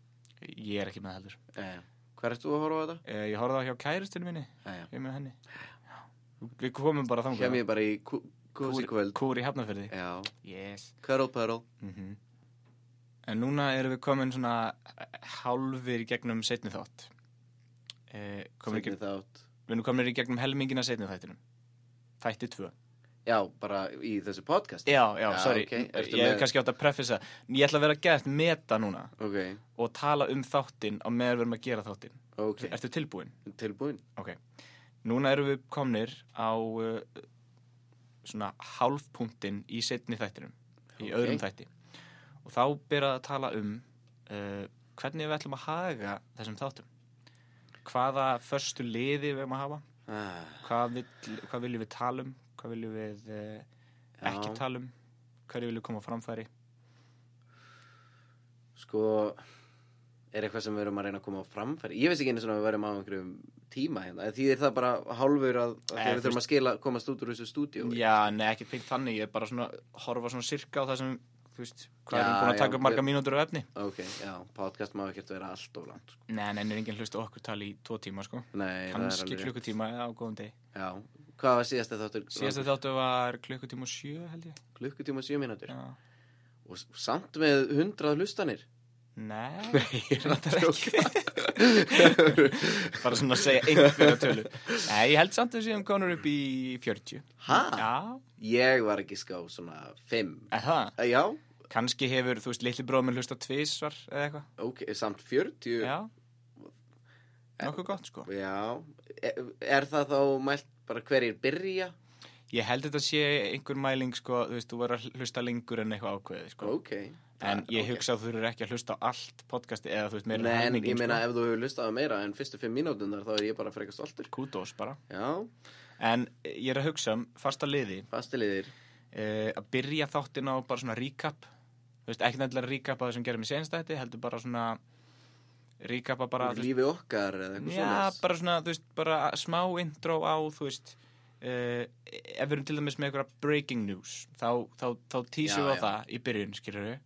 Speaker 1: Ég er ekki með það heldur
Speaker 2: Jæja. Hvar ert þú að horfa á þetta?
Speaker 1: Eh, Ég horfði á hjá kæristinu minni,
Speaker 2: Jæja.
Speaker 1: ég er með henni Við komum bara þangar
Speaker 2: Kem ég bara í kú- kúsi kvöld
Speaker 1: Kúr í hafnafyrði
Speaker 2: Já,
Speaker 1: Yes
Speaker 2: Cuddle Puddle
Speaker 1: Mhm. En núna erum við komin svona eh, hálfir í gegnum setni þátt Eh, komin í
Speaker 2: Seinni
Speaker 1: gegn-
Speaker 2: þátt
Speaker 1: Við erum komin í gegnum helmingina setni þættinum Þætti tvö
Speaker 2: Já, bara í þessu podcast
Speaker 1: Já, já,
Speaker 2: Já,
Speaker 1: sorry,
Speaker 2: ok. Ertu
Speaker 1: ég hef
Speaker 2: með-
Speaker 1: kannski átt að prefisa Ég ætla að vera að geta meta núna
Speaker 2: Ok,
Speaker 1: og tala um þáttinn á meðan við erum að gera þáttinn
Speaker 2: ok,
Speaker 1: Ertu tilbúin?
Speaker 2: tilbúin
Speaker 1: Ok Núna erum við komnir á uh, svona hálfpunktinn í setni þættinum í
Speaker 2: Ok.
Speaker 1: öðrum þætti og þá byrjað að tala um uh, hvernig við ætlum að haga þessum þáttum hvaða förstu liði við erum að hafa
Speaker 2: ah,
Speaker 1: hvað, vill, hvað viljum við tala um hvað viljum við uh, ekki
Speaker 2: Já.
Speaker 1: tala um hverju viljum við koma á framfæri
Speaker 2: Sko, er eitthvað sem við erum að reyna að koma á framfæri Ég veist ekki einu svona að við verðum á einhverjum tíma hérna Því er það bara hálfur að, að
Speaker 1: Eh,
Speaker 2: við þurfum að skila, komast út úr þessu stúdíu
Speaker 1: Já, nei, ekki beint þannig, ég er bara svona horfa svona sirka á það sem, þú veist, hvað
Speaker 2: Já,
Speaker 1: erum búin að
Speaker 2: já,
Speaker 1: taka upp marga
Speaker 2: við-
Speaker 1: mínútur á efni?
Speaker 2: Ok, já, podcast má ekkert vera allt of langt sko.
Speaker 1: Nei, nei, er enginn hlust okkur tala í tvo tíma, sko.
Speaker 2: Nei, það
Speaker 1: Kannski
Speaker 2: er alveg rétt.
Speaker 1: klukkutíma eða á góðum deg.
Speaker 2: Já, hvað var síðasta þáttur?
Speaker 1: Síðasta þáttu var klukkutíma og sjö, held ég.
Speaker 2: Klukkutíma og sjö mínútur
Speaker 1: Já.
Speaker 2: Og s- samt með hundrað hlustanir
Speaker 1: Nei,
Speaker 2: ég er að
Speaker 1: reyndar
Speaker 2: tjóka.
Speaker 1: bara svona að segja einhverja tölu. Nei, ég held samt að við séum konur upp í 40.
Speaker 2: Ha?
Speaker 1: Já,
Speaker 2: Ég var ekki ská svona fimm
Speaker 1: eða það.
Speaker 2: Eh, Já,
Speaker 1: Kannski hefur, þú veist, litli bróðum hlusta tvísvar eða eitthvað.
Speaker 2: ok, samt 40
Speaker 1: Já. Nokkuð gott, sko.
Speaker 2: Já, er, er það þá mælt bara hverjir byrja?
Speaker 1: Ég held þetta sé einhver mæling sko, þú veist, þú verður að hlusta lengur en eitthvað ákveðið sko.
Speaker 2: Ok
Speaker 1: En
Speaker 2: Það-
Speaker 1: ég
Speaker 2: ok.
Speaker 1: hugsa að þú eru ekki að hlusta á allt podcasti eða þú veist meira um sko.
Speaker 2: Nei, en
Speaker 1: helminginn,
Speaker 2: ég meina ef þú hefur lustað á meira en fyrstu fimm mínútundar þá er ég bara frekar stoltur
Speaker 1: sko. Kudos bara.
Speaker 2: Já,
Speaker 1: En ég er að hugsa um fasta liði
Speaker 2: fastiliðir
Speaker 1: uh, að byrja þáttin á bara svona recap. Þú veist, ekki nættilega recap að það sem gerum í senst þetta, heldur bara svona recapa bara... þú veist,
Speaker 2: Lífi okkar eða eitthvað
Speaker 1: Já,
Speaker 2: svoleiðis.
Speaker 1: bara svona, þú veist, bara smá intro á, þú veist, uh, ef við erum til dæmis með einhverja breaking news, þá, þá, þá tísum
Speaker 2: Já,
Speaker 1: við á
Speaker 2: já.
Speaker 1: það í byrjun, skilur við,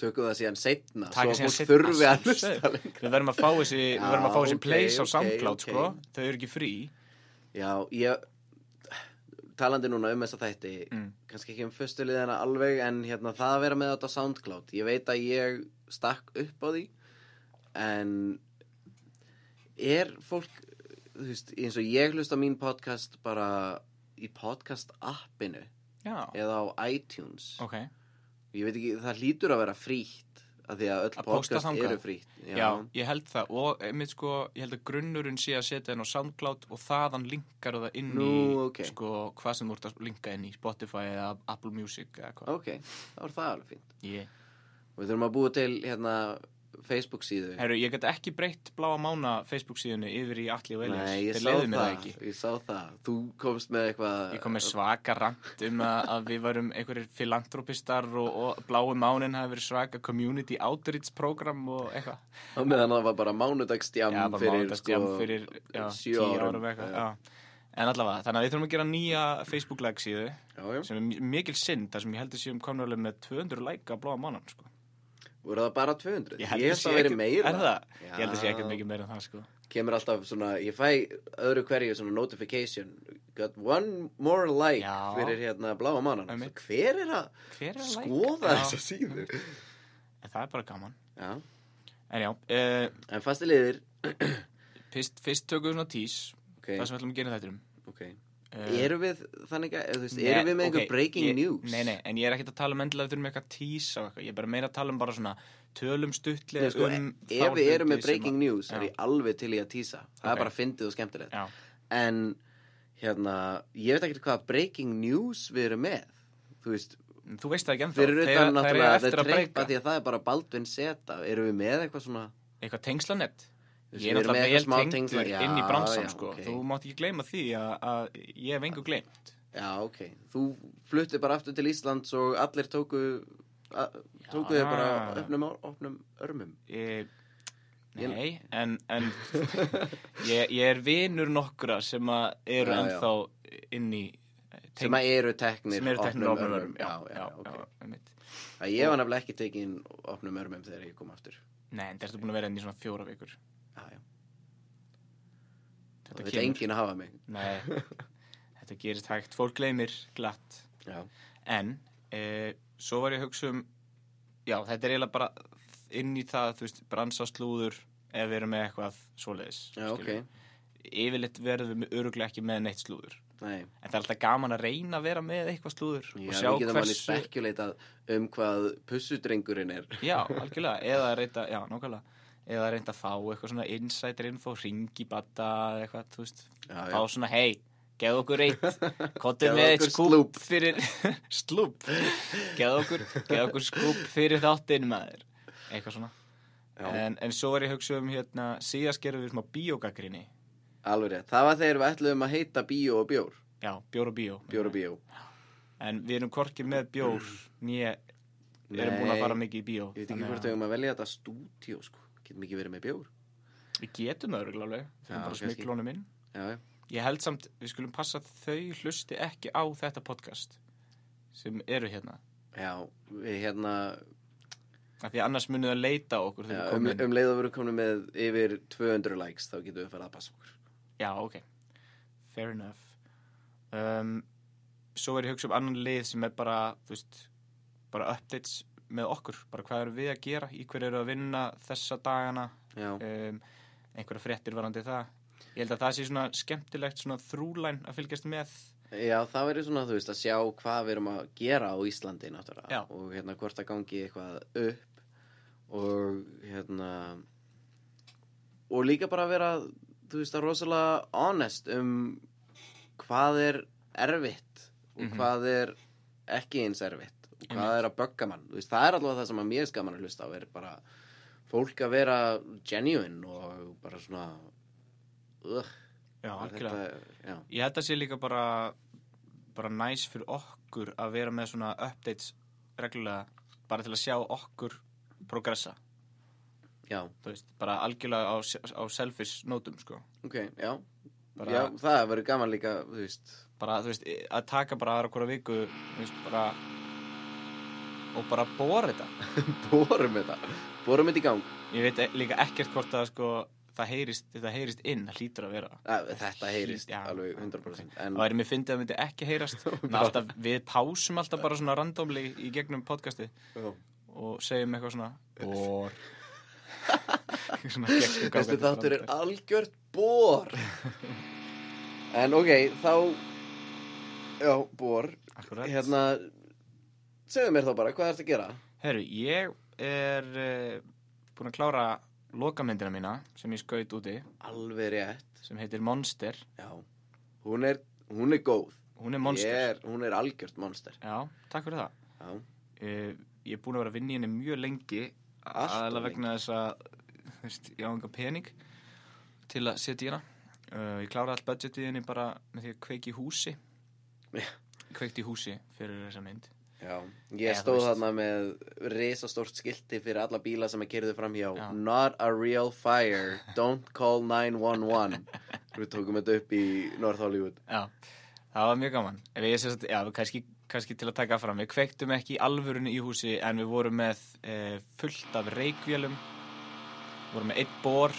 Speaker 2: tökum það síðan setna
Speaker 1: Taka síðan
Speaker 2: svo að
Speaker 1: seinna,
Speaker 2: fólk þurfi að
Speaker 1: sjálfsögðu.
Speaker 2: hlusta lengra
Speaker 1: Við verðum að fá þessi,
Speaker 2: Já,
Speaker 1: við verðum að fá þessi
Speaker 2: ok,
Speaker 1: place á
Speaker 2: ok,
Speaker 1: SoundCloud,
Speaker 2: ok.
Speaker 1: sko. Þau eru ekki frí.
Speaker 2: Já, ég talandi núna um þessa þætti
Speaker 1: Mm.
Speaker 2: kannski ekki um fyrstu liðina alveg en hérna það að vera með þetta á SoundCloud ég veit að ég stakk upp á því en er fólk þú veist, eins og ég hlusta á mín podcast bara í podcast appinu
Speaker 1: Já,
Speaker 2: eða á iTunes
Speaker 1: ok.
Speaker 2: ég veit ekki, það hlýtur að vera frítt af því að öll
Speaker 1: Að pósta
Speaker 2: podcast
Speaker 1: þangað?
Speaker 2: eru frítt
Speaker 1: Já. ég held það. Og einmitt, sko, ég held að grunnurinn sé að setja henn á SoundCloud og þaðan linkar það inn í,
Speaker 2: Nú, ok.
Speaker 1: sko, hvað sem þú ert að linka inn í, Spotify eða Apple Music eða hvað.
Speaker 2: ok, þá er það alveg fínt
Speaker 1: Ég.
Speaker 2: og við þurfum að búa til hérna Facebook síðu
Speaker 1: Herru, ég get ekki breytt Bláa Mána Facebook síðunni yfir í Alli og Elias.
Speaker 2: Nei, ég
Speaker 1: Þeir
Speaker 2: sá
Speaker 1: leyfðu
Speaker 2: það,
Speaker 1: mér það ekki.
Speaker 2: ég sá það Þú komst með eitthvað
Speaker 1: Ég kom með svaka rant um að, að við varum einhverjir filantropistar og, og blái mánin hafi verið svaka community outreach program og eitthvað.
Speaker 2: á meðan það var bara mánudagstjám
Speaker 1: Já, bara
Speaker 2: fyrir,
Speaker 1: mánudagsdjám
Speaker 2: sko,
Speaker 1: fyrir já,
Speaker 2: sjö
Speaker 1: tíu
Speaker 2: árum.
Speaker 1: árum eitthvað. Já. En allavega, þannig að við þurfum að gera nýja Facebook-lag síðu
Speaker 2: já, já.
Speaker 1: sem er mi- mikil synd þar sem ég heldur séum konulega með 200 læka á bláa mánan, sko.
Speaker 2: Voru það bara 200? Ég held
Speaker 1: sé
Speaker 2: það verið
Speaker 1: ekkert-
Speaker 2: meira
Speaker 1: Er það? Ég held að sé
Speaker 2: Já.
Speaker 1: ekkert mikið meira en það, sko.
Speaker 2: Kemur alltaf svona, ég fæ öðru hverju svona notification Got one more like
Speaker 1: Já.
Speaker 2: fyrir hérna bláa mannan
Speaker 1: Einmitt.
Speaker 2: Hver er að
Speaker 1: Hver er að læka?
Speaker 2: skoða
Speaker 1: Já.
Speaker 2: þessa síðu?
Speaker 1: En það er bara gaman.
Speaker 2: Já,
Speaker 1: En já, uh,
Speaker 2: en fasti liðir
Speaker 1: fyrst, fyrst tökum við svona tís,
Speaker 2: okay.
Speaker 1: það sem við ætlum að gera þetta um.
Speaker 2: okay.
Speaker 1: Eh,
Speaker 2: Eru við þannig að, þú veist,
Speaker 1: Nei,
Speaker 2: eru við með einhver
Speaker 1: ok,
Speaker 2: breaking
Speaker 1: ég,
Speaker 2: news?
Speaker 1: Nei, nei, en ég er ekkert að tala um endilega við þurfum eitthvað að tísa og eitthvað Ég er bara meira að tala um bara svona tölum stuttlega
Speaker 2: Nei, sko,
Speaker 1: um
Speaker 2: ef við erum með breaking news
Speaker 1: já.
Speaker 2: er ég alveg til í að tísa það
Speaker 1: Ok.
Speaker 2: er bara fyndið og skemmtilegt
Speaker 1: Já,
Speaker 2: en hérna, ég veit ekkert hvað breaking news við erum með þú veist,
Speaker 1: þú veist það ekki ennþá
Speaker 2: fyrir
Speaker 1: Þeir-
Speaker 2: utan
Speaker 1: þeir eiga
Speaker 2: náttúrulega the
Speaker 1: eftir að
Speaker 2: trip
Speaker 1: breyka
Speaker 2: að því að það er bara Baldvin seta erum við með eitthvað svona
Speaker 1: Eitthvað tengslanett
Speaker 2: Við
Speaker 1: Ég er
Speaker 2: erum með
Speaker 1: náttúrulega
Speaker 2: eitthvað smá
Speaker 1: vel tengdur
Speaker 2: tengsla- Já,
Speaker 1: inn í bransan
Speaker 2: já,
Speaker 1: sko
Speaker 2: ok.
Speaker 1: Þú mátt ekki gleyma því að, að ég hef engu gleymt
Speaker 2: já, ok, þú fluttir bara aftur til Íslands og allir tóku a- tóku
Speaker 1: Já.
Speaker 2: þér bara opnum, á- opnum örmum
Speaker 1: ég,
Speaker 2: Ég-
Speaker 1: Nei, en, en ég, ég er vinur nokkra sem að eru
Speaker 2: Já, já.
Speaker 1: ennþá inn í
Speaker 2: sem að eru teknir
Speaker 1: sem eru teknir
Speaker 2: opnum
Speaker 1: ofnum örmum
Speaker 2: örmum já, já, ok
Speaker 1: einmitt.
Speaker 2: Að ég var nefnilega ekki tekin opnum örmum þegar ég kom aftur
Speaker 1: Nei, en þetta er búin að vera enn í svona fjóra vikur
Speaker 2: já, já
Speaker 1: Þetta
Speaker 2: Það veit
Speaker 1: kemur.
Speaker 2: enginn að hafa mig
Speaker 1: Nei, þetta gerist hægt, fólk gleymir glatt.
Speaker 2: Já,
Speaker 1: En, e, svo var ég að hugsa um, já, þetta er eiginlega bara inn í það, þú veist, bransaslúður ef við erum með eitthvað svoleiðis.
Speaker 2: já ok
Speaker 1: skilurðu. Yfirleitt verðum við öruglega ekki með neitt slúður.
Speaker 2: Nei,
Speaker 1: En það er alltaf gaman að reyna að vera með eitthvað slúður
Speaker 2: já,
Speaker 1: og
Speaker 2: við
Speaker 1: sjá
Speaker 2: getum alveg
Speaker 1: hversu...
Speaker 2: spekuleitað um hvað pussudrengurinn er
Speaker 1: Já, algjörlega, eða reynda, já, nákvæmlega, eða reynda að fá eitthvað svona insider info, ringi bata eða eitthvað, þú veist,
Speaker 2: Já,
Speaker 1: fá
Speaker 2: já,
Speaker 1: svona hei, geð okkur eitt kottið
Speaker 2: Gefðu
Speaker 1: með eitt
Speaker 2: okkur
Speaker 1: skúp
Speaker 2: slúp.
Speaker 1: fyrir slúp geð okkur, geð okkur skúp fyrir þáttinn maður eitthvað svona
Speaker 2: já Eh,
Speaker 1: en, en svo er ég að hugsa um hérna síðast gerum við smá bíógagrinni
Speaker 2: alveg rétt Það var þegar við ætluðum að heita bíó og bjór
Speaker 1: já, bjór og bíó
Speaker 2: Bjór og bíó
Speaker 1: en við erum korkið með bjór nýja, erum búin að fara mikið í bíó
Speaker 2: Ég veit ekki hvort við
Speaker 1: að
Speaker 2: höfum að velja þetta stúdíó sko Getum ekki verið með bjór
Speaker 1: við getum það örugglega alveg við
Speaker 2: Já,
Speaker 1: erum bara
Speaker 2: kannski.
Speaker 1: smiklónum inn
Speaker 2: Já, já,
Speaker 1: ég held samt, við skulum passa að þau hlusti ekki á þetta podcast sem eru hérna
Speaker 2: já við hérna
Speaker 1: af því annars munið að leita að okkur
Speaker 2: já,
Speaker 1: þegar við
Speaker 2: um,
Speaker 1: komum inn
Speaker 2: um leið og við erum komin með yfir 200 likes þá getum við farið að passa okkur
Speaker 1: Já, ok. Fair enough. Um, svo er ég að hugsa um annan lið sem er bara, þú veist, bara updates með okkur. Bara hvað eru við að gera, í hverju eru að vinna þessa dagana,
Speaker 2: Já,
Speaker 1: um, einhverja fréttir varandi það. Ég held að það sé svona skemmtilegt svona þrúlæn að fylgjast með.
Speaker 2: já það verður svona þú veist að sjá hvað við erum að gera á Íslandi náttúrulega
Speaker 1: Já.
Speaker 2: og hérna hvort að gangi eitthvað upp og hérna og líka bara að vera þú veist að rosalega honest um hvað er erfitt og
Speaker 1: Mhm.
Speaker 2: hvað er ekki eins erfitt og hvað
Speaker 1: Einmitt.
Speaker 2: er að bögga mann þú veist, það er allavega það sem að mér er skaman að hlusta á er bara fólk að vera genuine og bara svona uh,
Speaker 1: Já, algjörlega.
Speaker 2: já,
Speaker 1: Ég held að sé líka bara, bara næs fyrir okkur að vera með svona updates reglulega bara til að sjá okkur progressa.
Speaker 2: já,
Speaker 1: Þú veist, bara algjörlega á, á selfish nótum, sko.
Speaker 2: ok, já
Speaker 1: Bara-
Speaker 2: já, það verður gaman líka þú veist
Speaker 1: bara, þú veist, að taka bara aðra hverja viku, þú veist, bara og bara bóra þetta
Speaker 2: Borum þetta Borum þetta í gang
Speaker 1: Ég veit e- líka ekkert hvort að sko, það heyrist, þetta heyrist inn, það hlýtur að vera
Speaker 2: Æ, Þetta heyrist
Speaker 1: Já.
Speaker 2: alveg 100% En
Speaker 1: Það væri mér fyndið að myndi ekki heyrast En alltaf, Við pásum alltaf bara svona randomli í gegnum podcasti
Speaker 2: Já.
Speaker 1: og segjum eitthvað svona Bor
Speaker 2: þessi þáttur er algjört bor En ok, þá Já, bor
Speaker 1: Akkurat
Speaker 2: Hérna Segðu mér þá bara, hvað ertu að gera?
Speaker 1: Herru, ég er uh, búin að klára lokamyndina mína sem ég skaut úti
Speaker 2: Alveg rétt
Speaker 1: sem heitir Monster
Speaker 2: Já Hún er, hún er góð
Speaker 1: Hún er Monster
Speaker 2: Ég er, Hún er algjört monster
Speaker 1: Já, takk fyrir það
Speaker 2: Já,
Speaker 1: uh, Ég er búin að vera að vinna í henni mjög lengi
Speaker 2: Allt of
Speaker 1: aðalega vegna þess að þú veist, ég á enga pening til að setja í hana uh, Ég kláraði allt budgetið í henni bara með því að kveiki í húsi
Speaker 2: Já.
Speaker 1: Kveikti í húsi fyrir þessa mynd
Speaker 2: Já.
Speaker 1: Já,
Speaker 2: Ég
Speaker 1: þú
Speaker 2: stóð
Speaker 1: veist.
Speaker 2: þarna með risastórt skilti fyrir alla bíla sem að kerðu fram hjá
Speaker 1: Já.
Speaker 2: Not a real fire, don't call 911 Við tókum þetta upp í North Hollywood
Speaker 1: Já, það var mjög gaman Ef ég sérst, já, kannski, kannski til að taka fram Við kveiktum ekki í alvörunni í húsi En við vorum með e, fullt af reykvélum Vorum með eitt bor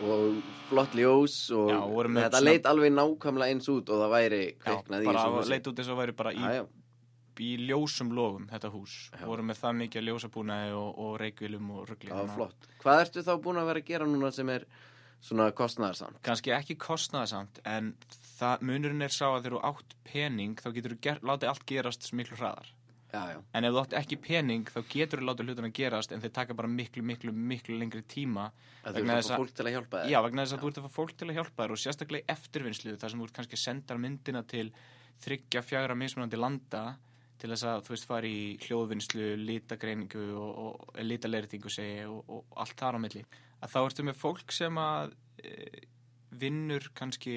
Speaker 2: og flott ljós og
Speaker 1: Já, vorum með
Speaker 2: þetta
Speaker 1: svona-
Speaker 2: leit alveg nákvæmlega eins út og það væri kveiknað í
Speaker 1: bara
Speaker 2: þessu húsi.
Speaker 1: leit út þess að væri bara í,
Speaker 2: Já, já.
Speaker 1: í ljósum logum Þetta hús
Speaker 2: Já.
Speaker 1: Vorum með það mikið af ljósabúnaði og, og reykvélum og ruggli
Speaker 2: Já, flott. Hvað ertu þá búin að vera að gera núna sem er svona kostnæðarsamt?
Speaker 1: Kannski ekki kostnaðasamt En það, munurinn er sá að þegar þú átt pening Þá getur þú ger, látið allt gerast svo miklu hraðar
Speaker 2: Já, já,
Speaker 1: En ef þú átt ekki pening þá getur þú látið hlutina gerast en þeir taka bara miklu, miklu, miklu lengri tíma Vegna
Speaker 2: að þú ert að
Speaker 1: þess
Speaker 2: fá
Speaker 1: að-
Speaker 2: fólk til að hjálpa þér.
Speaker 1: Já, vegna þess að þú ert að fá fólk til að hjálpa þér og sérstaklega í eftirvinnslu þar sem þú ert kannski að senda myndina til þryggja, fjagra mismunandi landa til þess að þú veist fara í hljóðvinnslu, litagreiningu og, og litaleiringu segi og, og allt þar á milli. Að þá ertu með fólk sem að e, vinnur kannski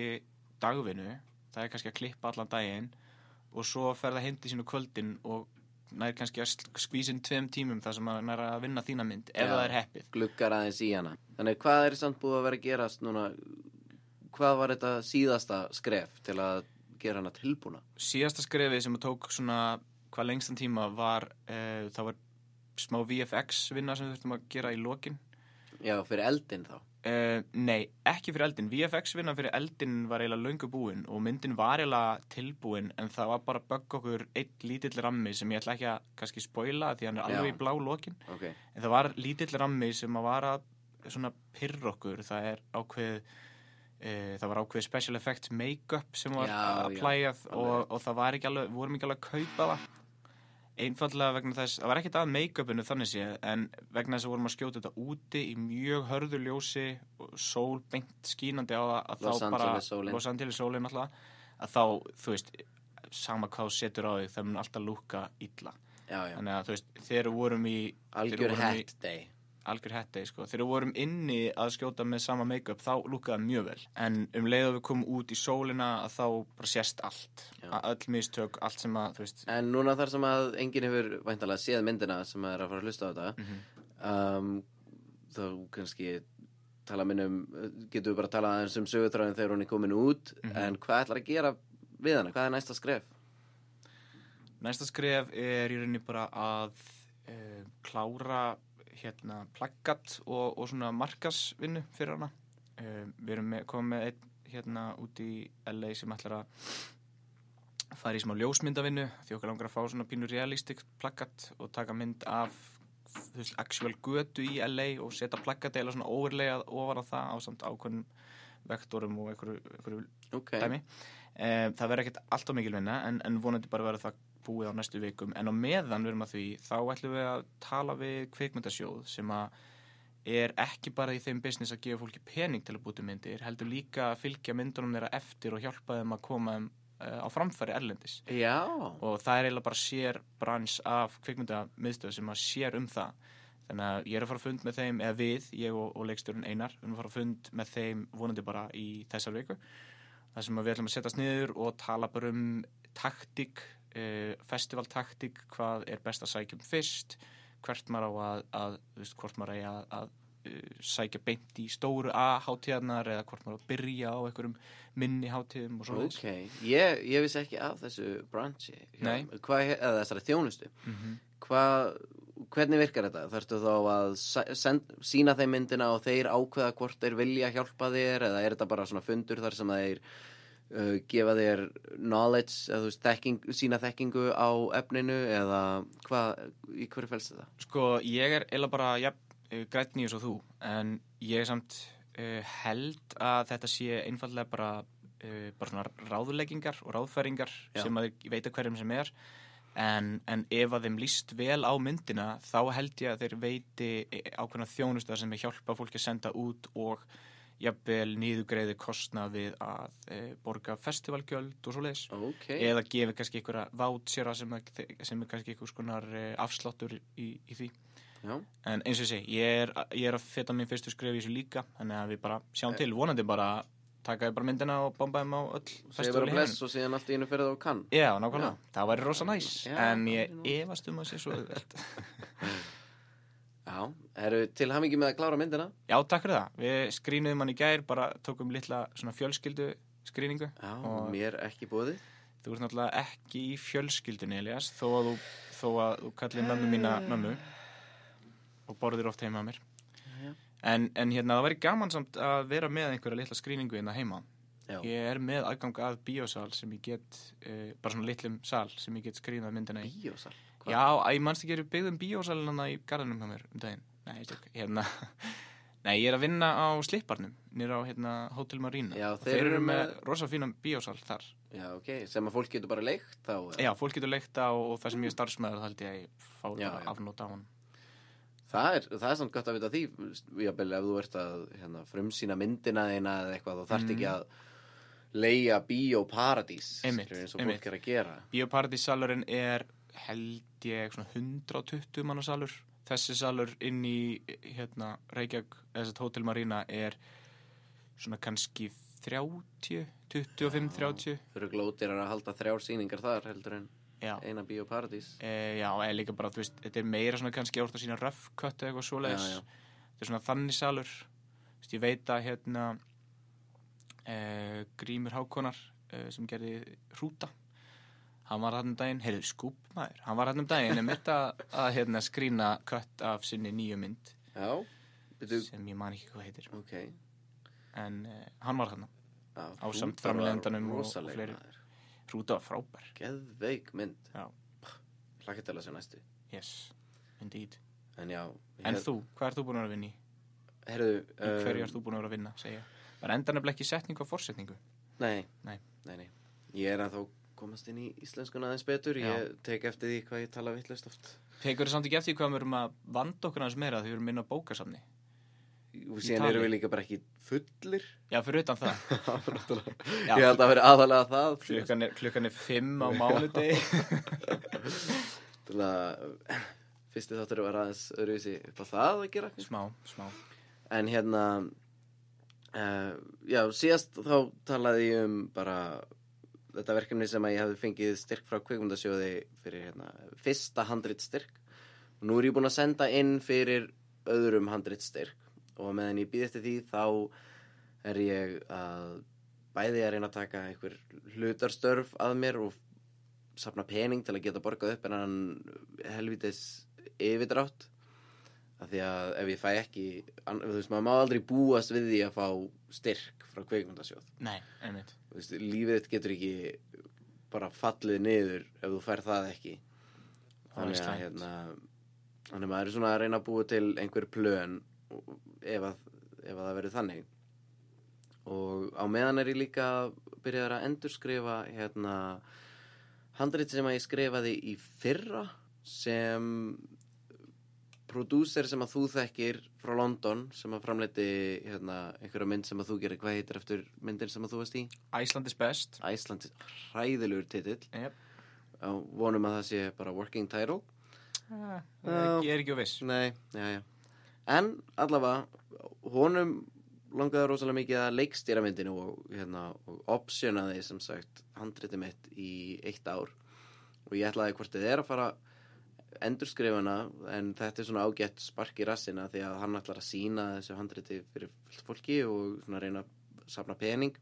Speaker 1: dagvinnu, það er kannski að klippa allan daginn og svo fer það hindi sínu kvöldin og nær kannski að skvísin tveim tímum þar sem að nær að vinna þína mynd ef
Speaker 2: Já.
Speaker 1: það er heppið.
Speaker 2: Gluggar aðeins í hana. Þannig, hvað er samt búið að vera að gerast núna? Hvað var þetta síðasta skref til að gera hana tilbúna?
Speaker 1: síðasta skrefið sem að tók svona hvað lengstan tíma var uh, það var smá VFX vinna sem við þurftum að gera í lokin
Speaker 2: Já, fyrir eldin þá.
Speaker 1: uh, nei, ekki fyrir eldin VFX vinna fyrir eldin var eiginlega löngu búin og myndin var eiginlega tilbúin en það var bara að bögga okkur eitt lítill rammi sem ég ætla ekki að kannski spoila því hann er
Speaker 2: Já.
Speaker 1: alveg í blá lokin
Speaker 2: Ok,
Speaker 1: en það var lítill rammi sem að var að svona pyrr okkur, það er ákveð e, það var ákveð special effects make-up sem var
Speaker 2: Já,
Speaker 1: að
Speaker 2: já,
Speaker 1: plæjað
Speaker 2: alveg.
Speaker 1: og, og það var ekki alveg, við vorum ekki alveg að kaupa það einfallega vegna þess það var ekkert að make-upinu þannig sé en vegna þess að vorum að skjóta þetta úti í mjög hörðu ljósi og sól beint skínandi á það að
Speaker 2: Los
Speaker 1: þá
Speaker 2: Angeles sólin.
Speaker 1: bara Los Angeles sólin alltaf að þá, þú veist, sama hvað þú setur á þig það mun alltaf lúka illa
Speaker 2: já, já.
Speaker 1: þannig að þú veist, þegar við vorum í þegar
Speaker 2: Algjör
Speaker 1: við vorum í-
Speaker 2: hett day.
Speaker 1: algjör hætti sko. þegar við vorum inni að skjóta með sama make-up þá lúkaði það mjög vel en um leið og við komum út í sólina að þá bara sést allt
Speaker 2: Já.
Speaker 1: A- öll mistök, allt sem að þú veist
Speaker 2: En núna þar sem að enginn hefur væntalega séð myndina sem er að fara að hlusta á þetta
Speaker 1: Mhm.
Speaker 2: um, þá kannski tala minn um getum við bara að tala aðeins um sögutráðin þegar hún er komin út
Speaker 1: Mhm.
Speaker 2: en hvað ætlar að gera við hana? Hvað er næsta skref?
Speaker 1: næsta skref er í rauninni bara að uh, klára hérna plaggat og, og svona markasvinnu fyrir hana uh, við erum með, komum með einn hérna út í LA sem ætlar að fara í smá ljósmyndavinnu því okkur langar að fá svona pínu realistik plaggat og taka mynd af þú veist, actual götu í LA og setja plaggat eða svona overlegað ofan á það á samt ákveðnum vektorum og einhverju, einhverju
Speaker 2: Ok,
Speaker 1: dæmi e, það verður ekkert alltaf mikil vinna en, en vonandi bara verður það búið á næstu vikum en á meðan við erum að því þá ætlum við að tala við kveikmyndasjóð sem að er ekki bara í þeim business að gefa fólki pening til að búti myndir heldur líka að fylgja myndunum þeirra eftir og hjálpa þeim að koma þeim eh, á framfæri erlendis
Speaker 2: já
Speaker 1: og það er eiginlega bara sér brans af kvikmyndamiðstöð sem að sér um það þannig að ég er að fara að fund með þeim eða við, ég og, og leikstjórun Einar við erum að fara að fund með þeim vonandi bara í þessar viku þar sem að við ætlum að setjast niður og tala bara um taktík, uh, festivaltaktík hvað er best að sækja um fyrst hvert maður á að, að þú veist, hvort maður eigi að, að uh, sækja beint í stóru A-hátíðarnar eða hvort maður á að byrja á einhverjum minni hátíðum og svona
Speaker 2: Ok, ég, ég vissi ekki af þessu branchi hjá-
Speaker 1: Nei.
Speaker 2: hvað, he- eða þessari þjónustu
Speaker 1: mm -hmm.
Speaker 2: hvað, hvernig virkar þetta? Þarftu þá að se- send, sína þeim myndina og þeir ákveða hvort þeir vilja hjálpa þér eða er þetta bara svona fundur þar sem þeir uh, gefa þér knowledge, eða þú veist, þekking, sína þekkingu á efninu eða hvað, í hverju fælst þetta?
Speaker 1: Sko, ég er eila bara eh, ja, grætni eins og þú, en ég er samt uh, held að þetta sé einfallega bara, uh, bara svona ráðleggingar og ráðfæringar
Speaker 2: Já.
Speaker 1: sem að þeir veita hverjum sem er en, en ef að þeim líst vel á myndina þá held ég að þeir veiti eh, ákveðna þjónusta sem er hjálpa fólki að senda út og jafnvel nýðugreiði kostna við að e, borga festivalgjöld og svo leiðis
Speaker 2: Ok,
Speaker 1: eða gefi kannski einhverja vátsjara sem, að- sem er kannski einhvers konar eh, afsláttur í, í því
Speaker 2: já,
Speaker 1: en eins og ég segi, ég er, ég er að feta mín fyrstu skref í þessu líka þannig að við bara
Speaker 2: Eh.
Speaker 1: sjáum til, vonandi bara taka við bara myndina og bomba þeim á öll
Speaker 2: segir bara
Speaker 1: í heiminum.
Speaker 2: bless og síðan allt í einu fyrir það og kann.
Speaker 1: Já, nákvæmlega, það væri rosa næs
Speaker 2: Já,
Speaker 1: en
Speaker 2: það
Speaker 1: ég
Speaker 2: væri nú-
Speaker 1: efast um að sé svo auðvelt.
Speaker 2: Já, eru til hamingi með að klára myndina?
Speaker 1: Já, takk fyrir það, við skrýnuðum hann í gær bara tókum litla svona fjölskyldu skrýningu
Speaker 2: Já,
Speaker 1: Og-
Speaker 2: mér ekki bóðið.
Speaker 1: Þú ert náttúrulega ekki í fjölskyldunni, Elias þó að þú, þó að þú kallir mömmu mína mömmu og borðir oft heima að mér
Speaker 2: Já.
Speaker 1: en, en hérna, það væri gaman samt að vera með einhverja litla skrýningu hérna heima
Speaker 2: Já.
Speaker 1: Ég er með aðgang að bíósal sem ég get, uh, bara svona litlum sal sem ég get skrýnað myndina í.
Speaker 2: Bíósal? Hva?
Speaker 1: Já, að ég mannst ekki eru byggðum bíósalina í garðinum hjá mér um daginn. Nei, ég tjók, hérna, nei, ég er að vinna á Slipparnum, nýra á hérna Hotel Marina.
Speaker 2: Já,
Speaker 1: Og
Speaker 2: þeir eru með-
Speaker 1: rosa fínan bíósal þar.
Speaker 2: Já, ok, sem að fólk getur bara leikt þá. eða?
Speaker 1: Já, fólk getur leikta og, og það sem ég er starfsmæður þá held ég að ég fá
Speaker 2: Já,
Speaker 1: bara
Speaker 2: já.
Speaker 1: afnóta á hann.
Speaker 2: Það er, það er samt gott að vita því, jafnvel ef þú ert að hérna, frumsýna myndina þína eða eitthvað, þú þarft ekki að leia bíóparadís,
Speaker 1: Mm. Einmitt,
Speaker 2: skilurðu, eins og
Speaker 1: einmitt.
Speaker 2: fólk er að gera.
Speaker 1: Bíóparadíssalurinn er held ég svona 120 manna salur þessi salur inn í hérna Reykjavík, þess að Hotel Marina er svona kannski 30, 25, 30
Speaker 2: Þau eru glótir að halda þrjár sýningar þar heldur en
Speaker 1: já,
Speaker 2: eina bíóparadís.
Speaker 1: e, já, eða líka bara þú veist, þetta er meira svona kannski orðið að sína röfkött eða eitthvað svoleiðis
Speaker 2: Já, já.
Speaker 1: þetta er svona þannig salur Þú veist, ég veit að hérna e, Grímur Hákonar e, sem gerði hrúta hann var hann um daginn, heyrðu skúp maður hann var hann um daginn um þetta að hérna, skrína kött af sinni nýju mynd
Speaker 2: Já, veitu,
Speaker 1: sem ég man ekki hvað heitir
Speaker 2: ok.
Speaker 1: en e, hann var hann,
Speaker 2: Já,
Speaker 1: Ásamt
Speaker 2: Hrútar var
Speaker 1: framleiðandanum og- og
Speaker 2: rosaleg,
Speaker 1: fleiri.
Speaker 2: maður.
Speaker 1: hrúta var frábær
Speaker 2: Geðveik mynd.
Speaker 1: Já.
Speaker 2: Hlakka til að sjá næstu.
Speaker 1: yes, indeed
Speaker 2: En já.
Speaker 1: en þú, hvað ert þú búin að vera að vinna í?
Speaker 2: Herðu. um,
Speaker 1: í hverju ert þú búin að vera að vinna, segja var endan nefnilega ekki setningu á forsetningu
Speaker 2: Nei.
Speaker 1: Nei.
Speaker 2: nei, nei. Ég er að þá komast inn í íslenskuna aðeins betur.
Speaker 1: Já.
Speaker 2: Ég tek eftir því hvað ég tala vittlust oft.
Speaker 1: tekur þið samt ekki eftir því hvað við erum að vanda okkur aðeins meira því við erum minna á bókasamni
Speaker 2: Og
Speaker 1: Í
Speaker 2: síðan
Speaker 1: tali.
Speaker 2: erum við líka bara ekki fullir.
Speaker 1: já, fyrir utan það
Speaker 2: ég
Speaker 1: Já.
Speaker 2: held að það veri aðalega það.
Speaker 1: klukkan er, klukkan er fimm á mánudegi
Speaker 2: Til að fyrsti þáttur var aðeins öðruvísi upp á það að gera.
Speaker 1: smá, smá
Speaker 2: En hérna, uh, já, síðast þá talaði ég um bara þetta verkefni sem að ég hefði fengið styrk frá kvikmyndasjóði fyrir hérna, fyrsta handrit styrk. Og nú er ég búinn að senda inn fyrir öðrum handrit styrk og meðan ég býð eftir því þá er ég að bæði að reyna að taka einhver hlutarstörf að mér og safna pening til að geta borgað upp en hann helvitis yfirdrátt af því að ef ég fæ ekki ann- þú veist, maður má aldrei búast við því að fá styrk frá kveikmyndasjóð
Speaker 1: nei, einmitt
Speaker 2: Þú veist, lífið þitt getur ekki bara fallið niður ef þú fær það ekki
Speaker 1: Það er
Speaker 2: þannig að
Speaker 1: slæmt.
Speaker 2: hérna, þannig að maður er svona að reyna að búa til einhver plön og- ef að, ef að það verður þannig og á meðan er ég líka byrjaður að endurskrifa hérna handrit sem að ég skrifaði í fyrra sem prodúser sem að þú þekkir frá London sem að framleiti hérna, einhverja mynd sem að þú gerir hvað heitir eftir myndin sem að þú varst í?
Speaker 1: Æsland is best
Speaker 2: Æsland hræðilegur titill
Speaker 1: yep.
Speaker 2: á vonum að það sé bara working title Ah,
Speaker 1: ég er ekki á viss
Speaker 2: Nei, já, já En allavega, honum langaði rosalega mikið að leikstýra myndinu og, hérna, og optionaði sem sagt handriti mitt í eitt ár og ég ætlaði hvort þið er að fara endurskrifa hana en þetta er svona ágætt spark í rassina því að hann ætlar að sína þessu handriti fyrir fullt fólki og svona reyna að safna pening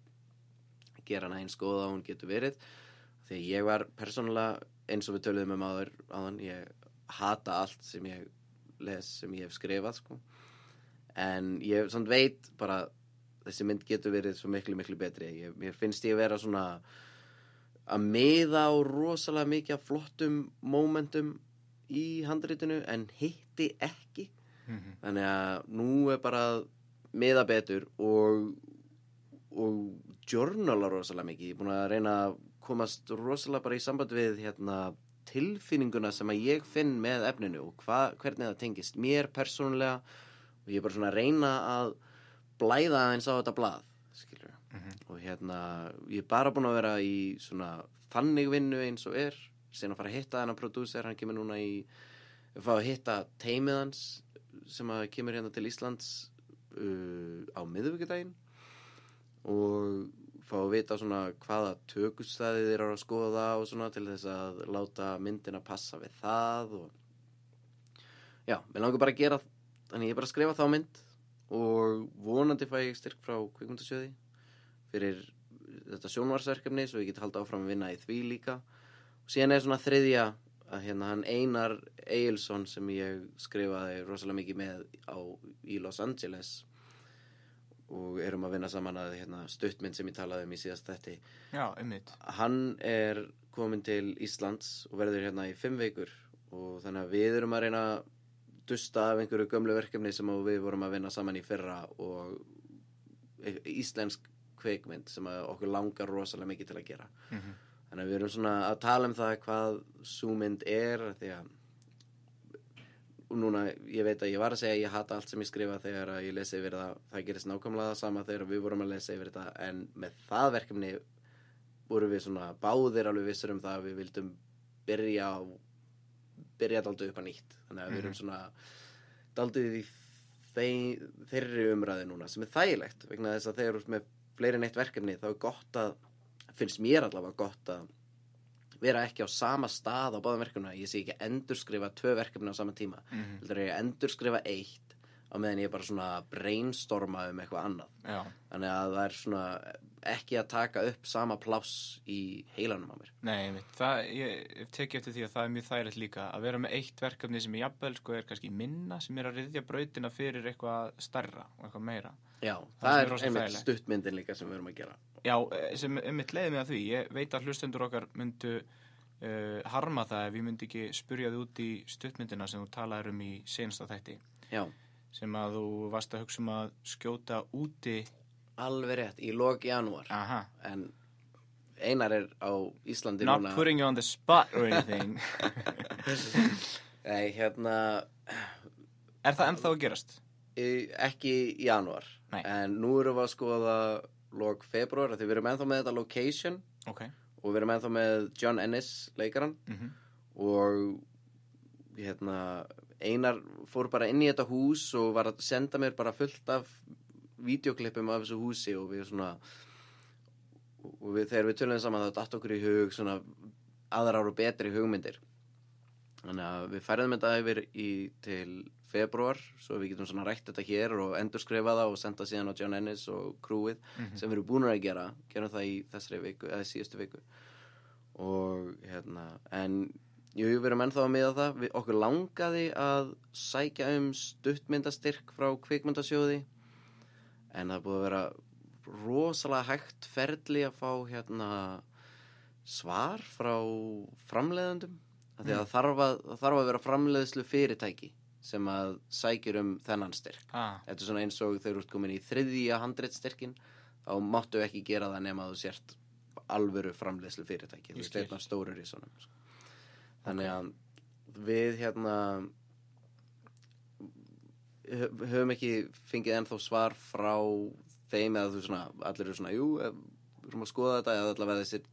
Speaker 2: gera hana eins góða og hún getur verið því að ég var persónulega eins og við töluðum um áður áðan, ég hata allt sem ég les sem ég hef skrifað sko. en ég samt veit bara þessi mynd getur verið svo miklu miklu betri ég, mér finnst ég vera svona að miða á rosalega mikið af flottum momentum í handritinu en hitti ekki
Speaker 1: Mhm.
Speaker 2: þannig að nú er bara að miða betur og og journala rosalega mikið ég er búin að reyna að komast rosalega bara í samband við hérna, tilfinninguna sem að ég finn með efninu og hva, hvernig það tengist mér persónulega og ég er bara svona að reyna að blæða eins á þetta blað skilur
Speaker 1: mhm.
Speaker 2: og hérna ég er bara búin að vera í svona þannig vinnu eins og er sen að fara að hitta þennan prodúser hann kemur núna í fá að hitta teimið hans sem að kemur hérna til Íslands uh, á miðvíkudaginn og fá að vita svona hvaða tökustæði þeir eru að skoða og svona til þess að láta myndina passa við það og já, mér langar bara að gera þannig ég er bara að skrifa þá mynd og vonandi fæ ég styrk frá kvikmyndasjöði fyrir þetta sjónvarsverkefni svo ég get halda áfram að vinna í því líka og síðan er svona þriðja að hérna hann Einar Eilsson sem ég skrifaði rosalega mikið með á, í Los Angeles og erum að vinna saman að hérna, stuttmynd sem ég talaði um í síðast þetti
Speaker 1: Já, einmitt.
Speaker 2: hann er komin til Íslands og verður hérna í fimm veikur og þannig að við erum að reyna að dusta af einhverju gömlu verkefni sem að við vorum að vinna saman í fyrra og e- íslensk kveikmynd sem að okkur langar rosalega mikið til að gera
Speaker 1: Mhm.
Speaker 2: þannig að við erum svona að tala um það hvað sú mynd er af því að og núna, ég veit að ég var að segja að ég hata allt sem ég skrifa þegar að ég lesi yfir það það gerist nákvæmlega það sama þegar við vorum að lesa yfir þetta en með það verkefni vorum við svona báðir alveg vissur um það að við vildum byrja á byrja daldið upp að nýtt þannig að við erum svona daldið í þeir, þeirri umræði núna sem er þægilegt vegna þess að þegar þú ert með fleiri en eitt verkefni þá er gott að finnst mér allavega gott að vera ekki á sama stað á báðum verkefna ég sé ekki endurskrifa tvö verkefni á sama tíma
Speaker 1: Mhm.
Speaker 2: heldur er ég að endurskrifa eitt á meðan ég er bara svona að brainstorma um eitthvað annað
Speaker 1: Já,
Speaker 2: þannig að það er svona ekki að taka upp sama pláss í heilanum á mér
Speaker 1: nei, einmitt. Það, ég hef tekið eftir því að það er mjög þægilegt líka að vera með eitt verkefni sem er jafnvel, sko, er kannski minna sem er að riðja brautina fyrir eitthvað stærra og eitthvað meira.
Speaker 2: Já, það,
Speaker 1: sem er
Speaker 2: er
Speaker 1: rosa
Speaker 2: einmitt
Speaker 1: þægilegt.
Speaker 2: stuttmyndin líka sem við erum að gera
Speaker 1: Já, eh, sem einmitt leiði mig að því. Ég veit að hlustendur okkar myndu uh, harma það ef ég myndi ekki spurja þið út í stuttmyndina sem þú talaðir um í senasta þætti
Speaker 2: Já,
Speaker 1: sem að þú varst að hugsa um að skjóta úti
Speaker 2: alveg rétt, í lok janúar
Speaker 1: Aha,
Speaker 2: en Einar er á Íslandi
Speaker 1: not
Speaker 2: núna
Speaker 1: putting you on the spot or anything
Speaker 2: Nei, hérna,
Speaker 1: Er það ennþá að gerast?
Speaker 2: í- ekki í janúar
Speaker 1: Nei.
Speaker 2: en nú erum við að skoða lok februar, því við erum ennþá með þetta location
Speaker 1: Ok
Speaker 2: og við erum ennþá með John Ennis, leikaran
Speaker 1: mm
Speaker 2: og hérna, Einar fór bara inn í þetta hús og var að senda mér bara fullt af videoklippum af þessu húsi og við svona og við, þegar við tölum saman þá datt okkur í hug svona aðrar og betri hugmyndir þannig að við færðum þetta yfir í, til februar svo við getum svona rætt þetta hér og endurskrifa það og senda síðan á John Ennis og crewið
Speaker 1: Mhm.
Speaker 2: sem við erum búin að gera gerum það í þessari viku, eða síðustu viku og hérna en jú, við erum ennþá að miða það við, okkur langaði að sækja um stuttmyndastyrk frá kvikmyndasjóði en það er búið að vera rosalega hægt ferli að fá hérna svar frá framleiðendum af því að það þarf að, það þarf að vera framleiðslu fyrirtæki sem að sækjur um þennan styrk
Speaker 1: ah,
Speaker 2: þetta er svona eins og þegar þú ert komin í þriðja handreitstyrkin þá máttu ekki gera það nema að þú sért alvöru framleiðslu fyrirtæki
Speaker 1: Ég
Speaker 2: þú ert
Speaker 1: skil.
Speaker 2: einn af stóru risunum sko. þannig að við hérna hö- höfum ekki fengið ennþá svar frá þeim eða þú svona, allir eru svona jú, eh, við erum að skoða þetta eða allavega þessi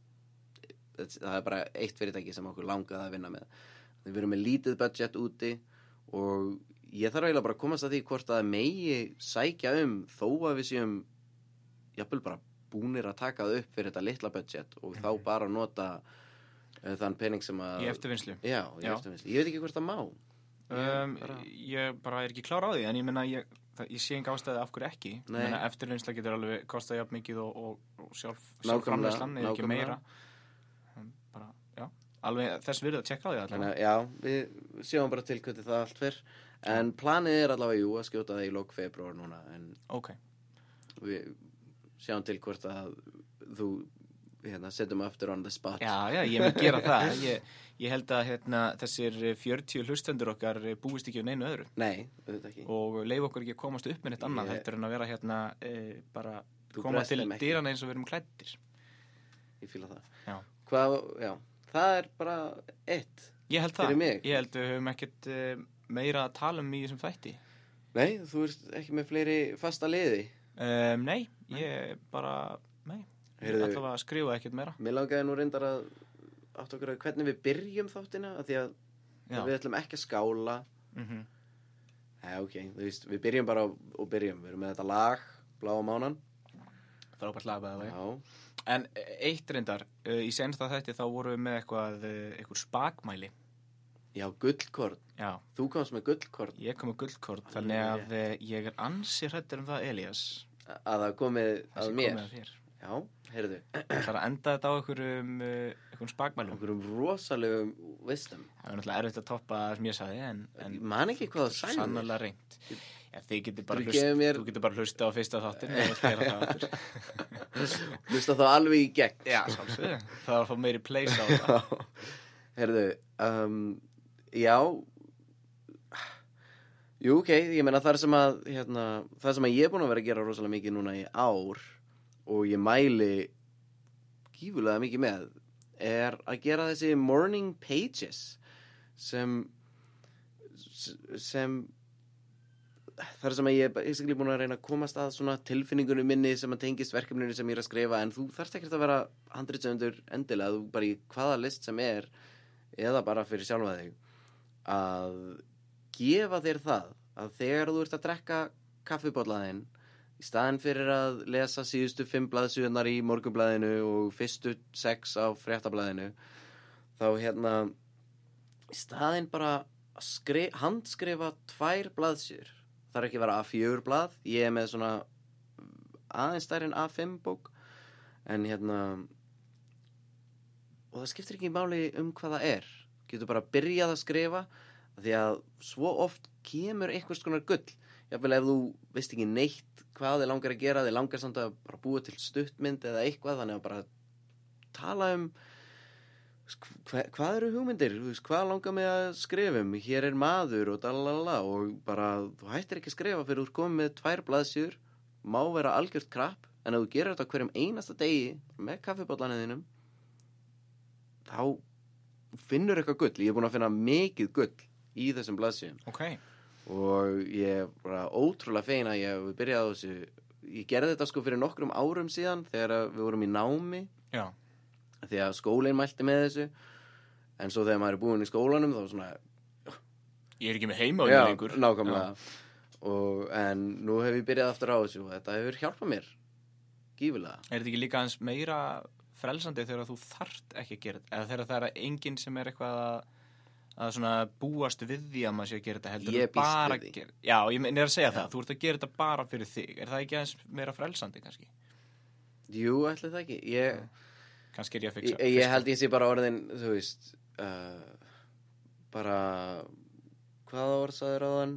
Speaker 2: það er bara eitt fyrirtæki sem okkur langaði að vinna með við erum með lítið budget úti og ég þarf eiginlega bara að komast að því hvort að megi sækja um þó að við séum jafnvel bara búnir að taka það upp fyrir þetta litla budget og þá bara nota uh, þann pening sem að
Speaker 1: Mhm. Í eftirvinnslu
Speaker 2: já, í
Speaker 1: Já.
Speaker 2: eftirvinnslu. ég veit ekki hvort það má Ég
Speaker 1: um,
Speaker 2: bara-
Speaker 1: Ég bara er ekki klár á því en ég menna ég, það, ég sé enga ástæði af hverju ekki Ég
Speaker 2: Nei.
Speaker 1: meina, Eftirvinnsla getur alveg kostað jafn mikið og, og, og sjálf, sjálf
Speaker 2: Nákvæmlega,
Speaker 1: framleyslan eða ekki
Speaker 2: nákvæmlega.
Speaker 1: meira En bara, já alveg þess virði að tjekka á því allavega.
Speaker 2: Þannig að já, við sjáum bara til hvernig það allt fer En planið er allavega jú að skjóta það í lók februar núna En
Speaker 1: Ok,
Speaker 2: við sjáum til hvort að þú hérna, setjum aftur on the spot
Speaker 1: já, já, ég mun gera það. Ég, ég held að hérna, þessir eh, 40 hlustendur okkar eh, búist ekki um neinu öðru
Speaker 2: Nei, auðvitað ekki
Speaker 1: og leif okkur ekki að komast upp með neitt annað
Speaker 2: Ég-
Speaker 1: heldur en að vera hérna e, bara
Speaker 2: Þú
Speaker 1: koma
Speaker 2: bregst
Speaker 1: til
Speaker 2: þeim ekki.
Speaker 1: dýrana eins og við erum klættir.
Speaker 2: Ég fíla það
Speaker 1: Já.
Speaker 2: Hvað, já, það er bara eitt
Speaker 1: Ég held
Speaker 2: Fyrir
Speaker 1: það.
Speaker 2: mig?
Speaker 1: Ég held við höfum ekkert e, meira að tala um í þessum þætti.
Speaker 2: Nei, þú ert ekki með fleiri fasta liði
Speaker 1: Um, nei, ég bara, nei, ég
Speaker 2: Heyrðu-
Speaker 1: ætla að skrifa ekkert meira.
Speaker 2: Mér langaði nú reyndar að átt okkur að hvernig við byrjum þáttina af Því að
Speaker 1: Já,
Speaker 2: við ætlum ekki að skála
Speaker 1: mm
Speaker 2: Nei, ok, þú veist, við byrjum bara á- og byrjum Við erum með þetta lag, Bláa mánan
Speaker 1: frábært lagaðið.
Speaker 2: Já,
Speaker 1: En eitt reyndar, uh, í sensta þætti þá vorum við með eitthvað, uh, eitthvað spakmæli.
Speaker 2: já, gullkorn
Speaker 1: Já,
Speaker 2: Þú komst með gullkorn
Speaker 1: ég kom með gullkort,
Speaker 2: Alveg
Speaker 1: þannig að uh, ég er ansi hrættur um það, Elías.
Speaker 2: að það komið
Speaker 1: það
Speaker 2: að
Speaker 1: sem
Speaker 2: mér
Speaker 1: komið að þér.
Speaker 2: Já, heyrðu,
Speaker 1: Ég ætlar að enda þetta á einhverjum, uh, einhverjum spakmælum.
Speaker 2: okkur um rosalegum vistum
Speaker 1: Það er náttúrulega erfitt að toppa það sem ég sagði, en,
Speaker 2: Ég
Speaker 1: en
Speaker 2: man ekki hvað það sæði
Speaker 1: sannlega reynd. Ef þið getur bara,
Speaker 2: Þú
Speaker 1: hlust,
Speaker 2: gefur mér-
Speaker 1: þú getur bara hlusta á fyrsta þáttin og hlera það aftur.
Speaker 2: Hlusta þá alveg í gegn
Speaker 1: Já, sálsögðu. Það var að fá meiri place á það.
Speaker 2: Heyrðu, um, já Jú, ok, ég meina þar sem að hérna, það sem að ég er búin að vera að gera rosalega mikið núna í ár og ég mæli gífulega mikið með er að gera þessi morning pages sem sem þar sem að ég er basically búin að reyna að komast að svona tilfinningunum minni sem að tengist verkefninu sem ég er að skrifa en þú þarft ekkert að vera handritsöndur endilega þú bara í hvaða list sem er eða bara fyrir sjálfa þig að gefa þér það að þegar þú ert að drekka kaffibollaðinn í staðin fyrir að lesa síðustu fimm blaðsugurnar í morgunblaðinu og fyrstu sex á fréttablaðinu þá hérna í staðin bara að skri, handskrifa tvær blaðsugur þarf ekki að vera A4 blað ég er með svona aðeins stærri en A5 bók en hérna og það skiptir ekki máli um hvað það er getur bara að byrjað að skrifa af því að svo oft kemur einhvers konar gull jáfnvel ef þú veist ekki neitt hvað þið langar að gera þið langar samt að bara búa til stuttmynd eða eitthvað þannig að bara tala um hva, hvað eru hugmyndir Þú veist, hvað langar mig að skrifum hér er maður og dalalala og bara þú hættir ekki að skrifa fyrir úr komið með tvær blaðsjur má vera algjört krapp en ef þú gerir þetta á hverjum einasta degi með kaffibóllanin þínum þá finnur eitthvað gull ég er búin að finna mikið gull í þessum blaðsjum
Speaker 1: Ok,
Speaker 2: og ég er bara ótrúlega fein að ég hef byrjað á þessu ég gerði þetta sko fyrir nokkrum árum síðan þegar að við vorum í námi
Speaker 1: já.
Speaker 2: því að skólinn mælti með þessu en svo þegar maður er búinn í skólanum þá svona
Speaker 1: Ég er ekki með heima á
Speaker 2: já,
Speaker 1: því lengur.
Speaker 2: nákvæmlega og, en nú hef ég byrjað aftur á þessu og þetta hefur hjálpað mér gífilega
Speaker 1: Er þetta ekki líka aðeins meira frelsandi þegar þú þart ekki að gera þetta? Eða þegar það er enginn sem er eitthvað að, að svona búast við því að maður sé að gera þetta heldur
Speaker 2: Ég
Speaker 1: en
Speaker 2: býst
Speaker 1: bara
Speaker 2: við því.
Speaker 1: að gera- Já, ég meina, ég er að segja það. Þú ert að gera þetta bara fyrir þig. Er það ekki aðeins meira frelsandi kannski?
Speaker 2: jú, ætli það ekki ég,
Speaker 1: Kannski er ég að
Speaker 2: ég,
Speaker 1: fixa.
Speaker 2: ég held ég sé bara orðin þú veist uh, bara hvaða orð sagður á þann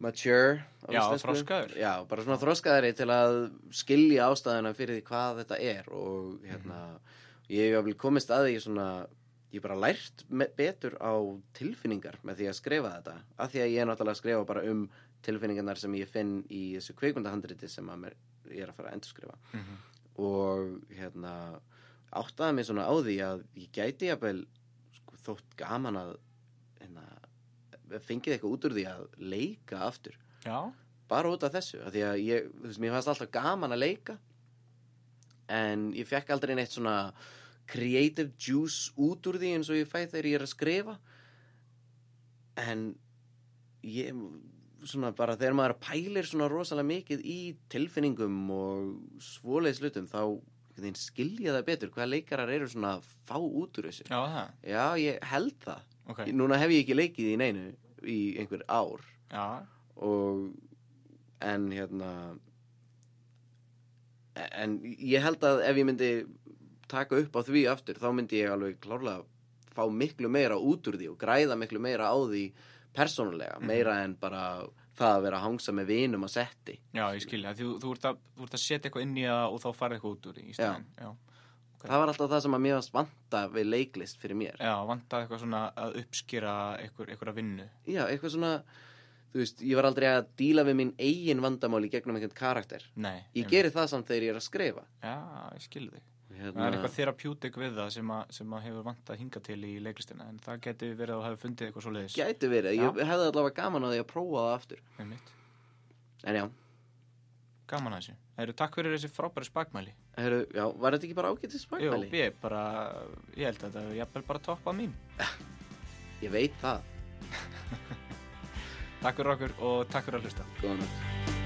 Speaker 2: mature á
Speaker 1: Já,
Speaker 2: íslensku.
Speaker 1: þroskaður.
Speaker 2: já, bara svona þroskaðari til að skilja ástæðuna fyrir því hvað þetta er og
Speaker 1: Mhm.
Speaker 2: hérna ég hef alveg komist að því svona ég bara lært me- betur á tilfinningar með því að skrifa þetta af því að ég er náttúrulega að skrifa bara um tilfinningarnar sem ég finn í þessu kveikmundahandriti sem að mér, ég er að fara að endurskrifa
Speaker 1: Mhm.
Speaker 2: og hérna áttaði mig svona á því að ég gæti jafnvel sko, þótt gaman að hérna, fengið eitthvað út úr því að leika aftur
Speaker 1: Já,
Speaker 2: bara út af þessu af því að ég, þú veist, mér fannst alltaf gaman að leika en ég fekk aldrei neitt svona creative juice út úr því eins og ég fæ þegar ég er að skrifa en ég svona bara þegar maður pælir svona rosalega mikið í tilfinningum og svoleiðis hlutum þá einhvern veginn skilja það betur hvað leikarar eru svona að fá út úr þessu
Speaker 1: já það.
Speaker 2: já ég held það
Speaker 1: Ok,
Speaker 2: núna hef ég ekki leikið í neinu í einhver ár
Speaker 1: já.
Speaker 2: og en hérna en ég held að ef ég myndi taka upp á því aftur þá myndi ég alveg klárlega fá miklu meira út úr því og græða miklu meira á því
Speaker 1: Mhm.
Speaker 2: persónulega, meira en bara það að vera að hangsa með vinum að setti
Speaker 1: Já, ég skilja, þú, þú, ert að, þú ert að setja eitthvað inn í það og þá farið eitthvað út úr því í staðinn. Já.
Speaker 2: það var alltaf það sem að mér varst vanta við leiklist fyrir mér
Speaker 1: Já, vantaði eitthvað svona að uppskýra einhver, einhverja vinnu.
Speaker 2: já, eitthvað svona þú veist, ég var aldrei að díla við minn eigin vandamál í gegnum einhvern karakter
Speaker 1: Nei.
Speaker 2: ég
Speaker 1: einmitt.
Speaker 2: geri það samt þegar ég er að skrifa
Speaker 1: Já, ég skilja þig. Það er
Speaker 2: hérna,
Speaker 1: eitthvað therapeutic við það sem, að, sem að hefur vantað hingað til í leiklistina en það geti verið að hafa fundið eitthvað svo leiðis.
Speaker 2: gæti verið, ég hefði allavega gaman að því að prófa það aftur
Speaker 1: Einmitt.
Speaker 2: en já,
Speaker 1: Gaman að þessu. Það eru takk fyrir þessi frábæri spakmæli.
Speaker 2: heru, já var þetta ekki bara ágætið
Speaker 1: Jú,
Speaker 2: spakmæli?
Speaker 1: ég bara, ég held að þetta er jafnvel bara toppað mín.
Speaker 2: ég veit það,
Speaker 1: Takk fyrir okkur og takk fyrir að hlusta.
Speaker 2: góðan að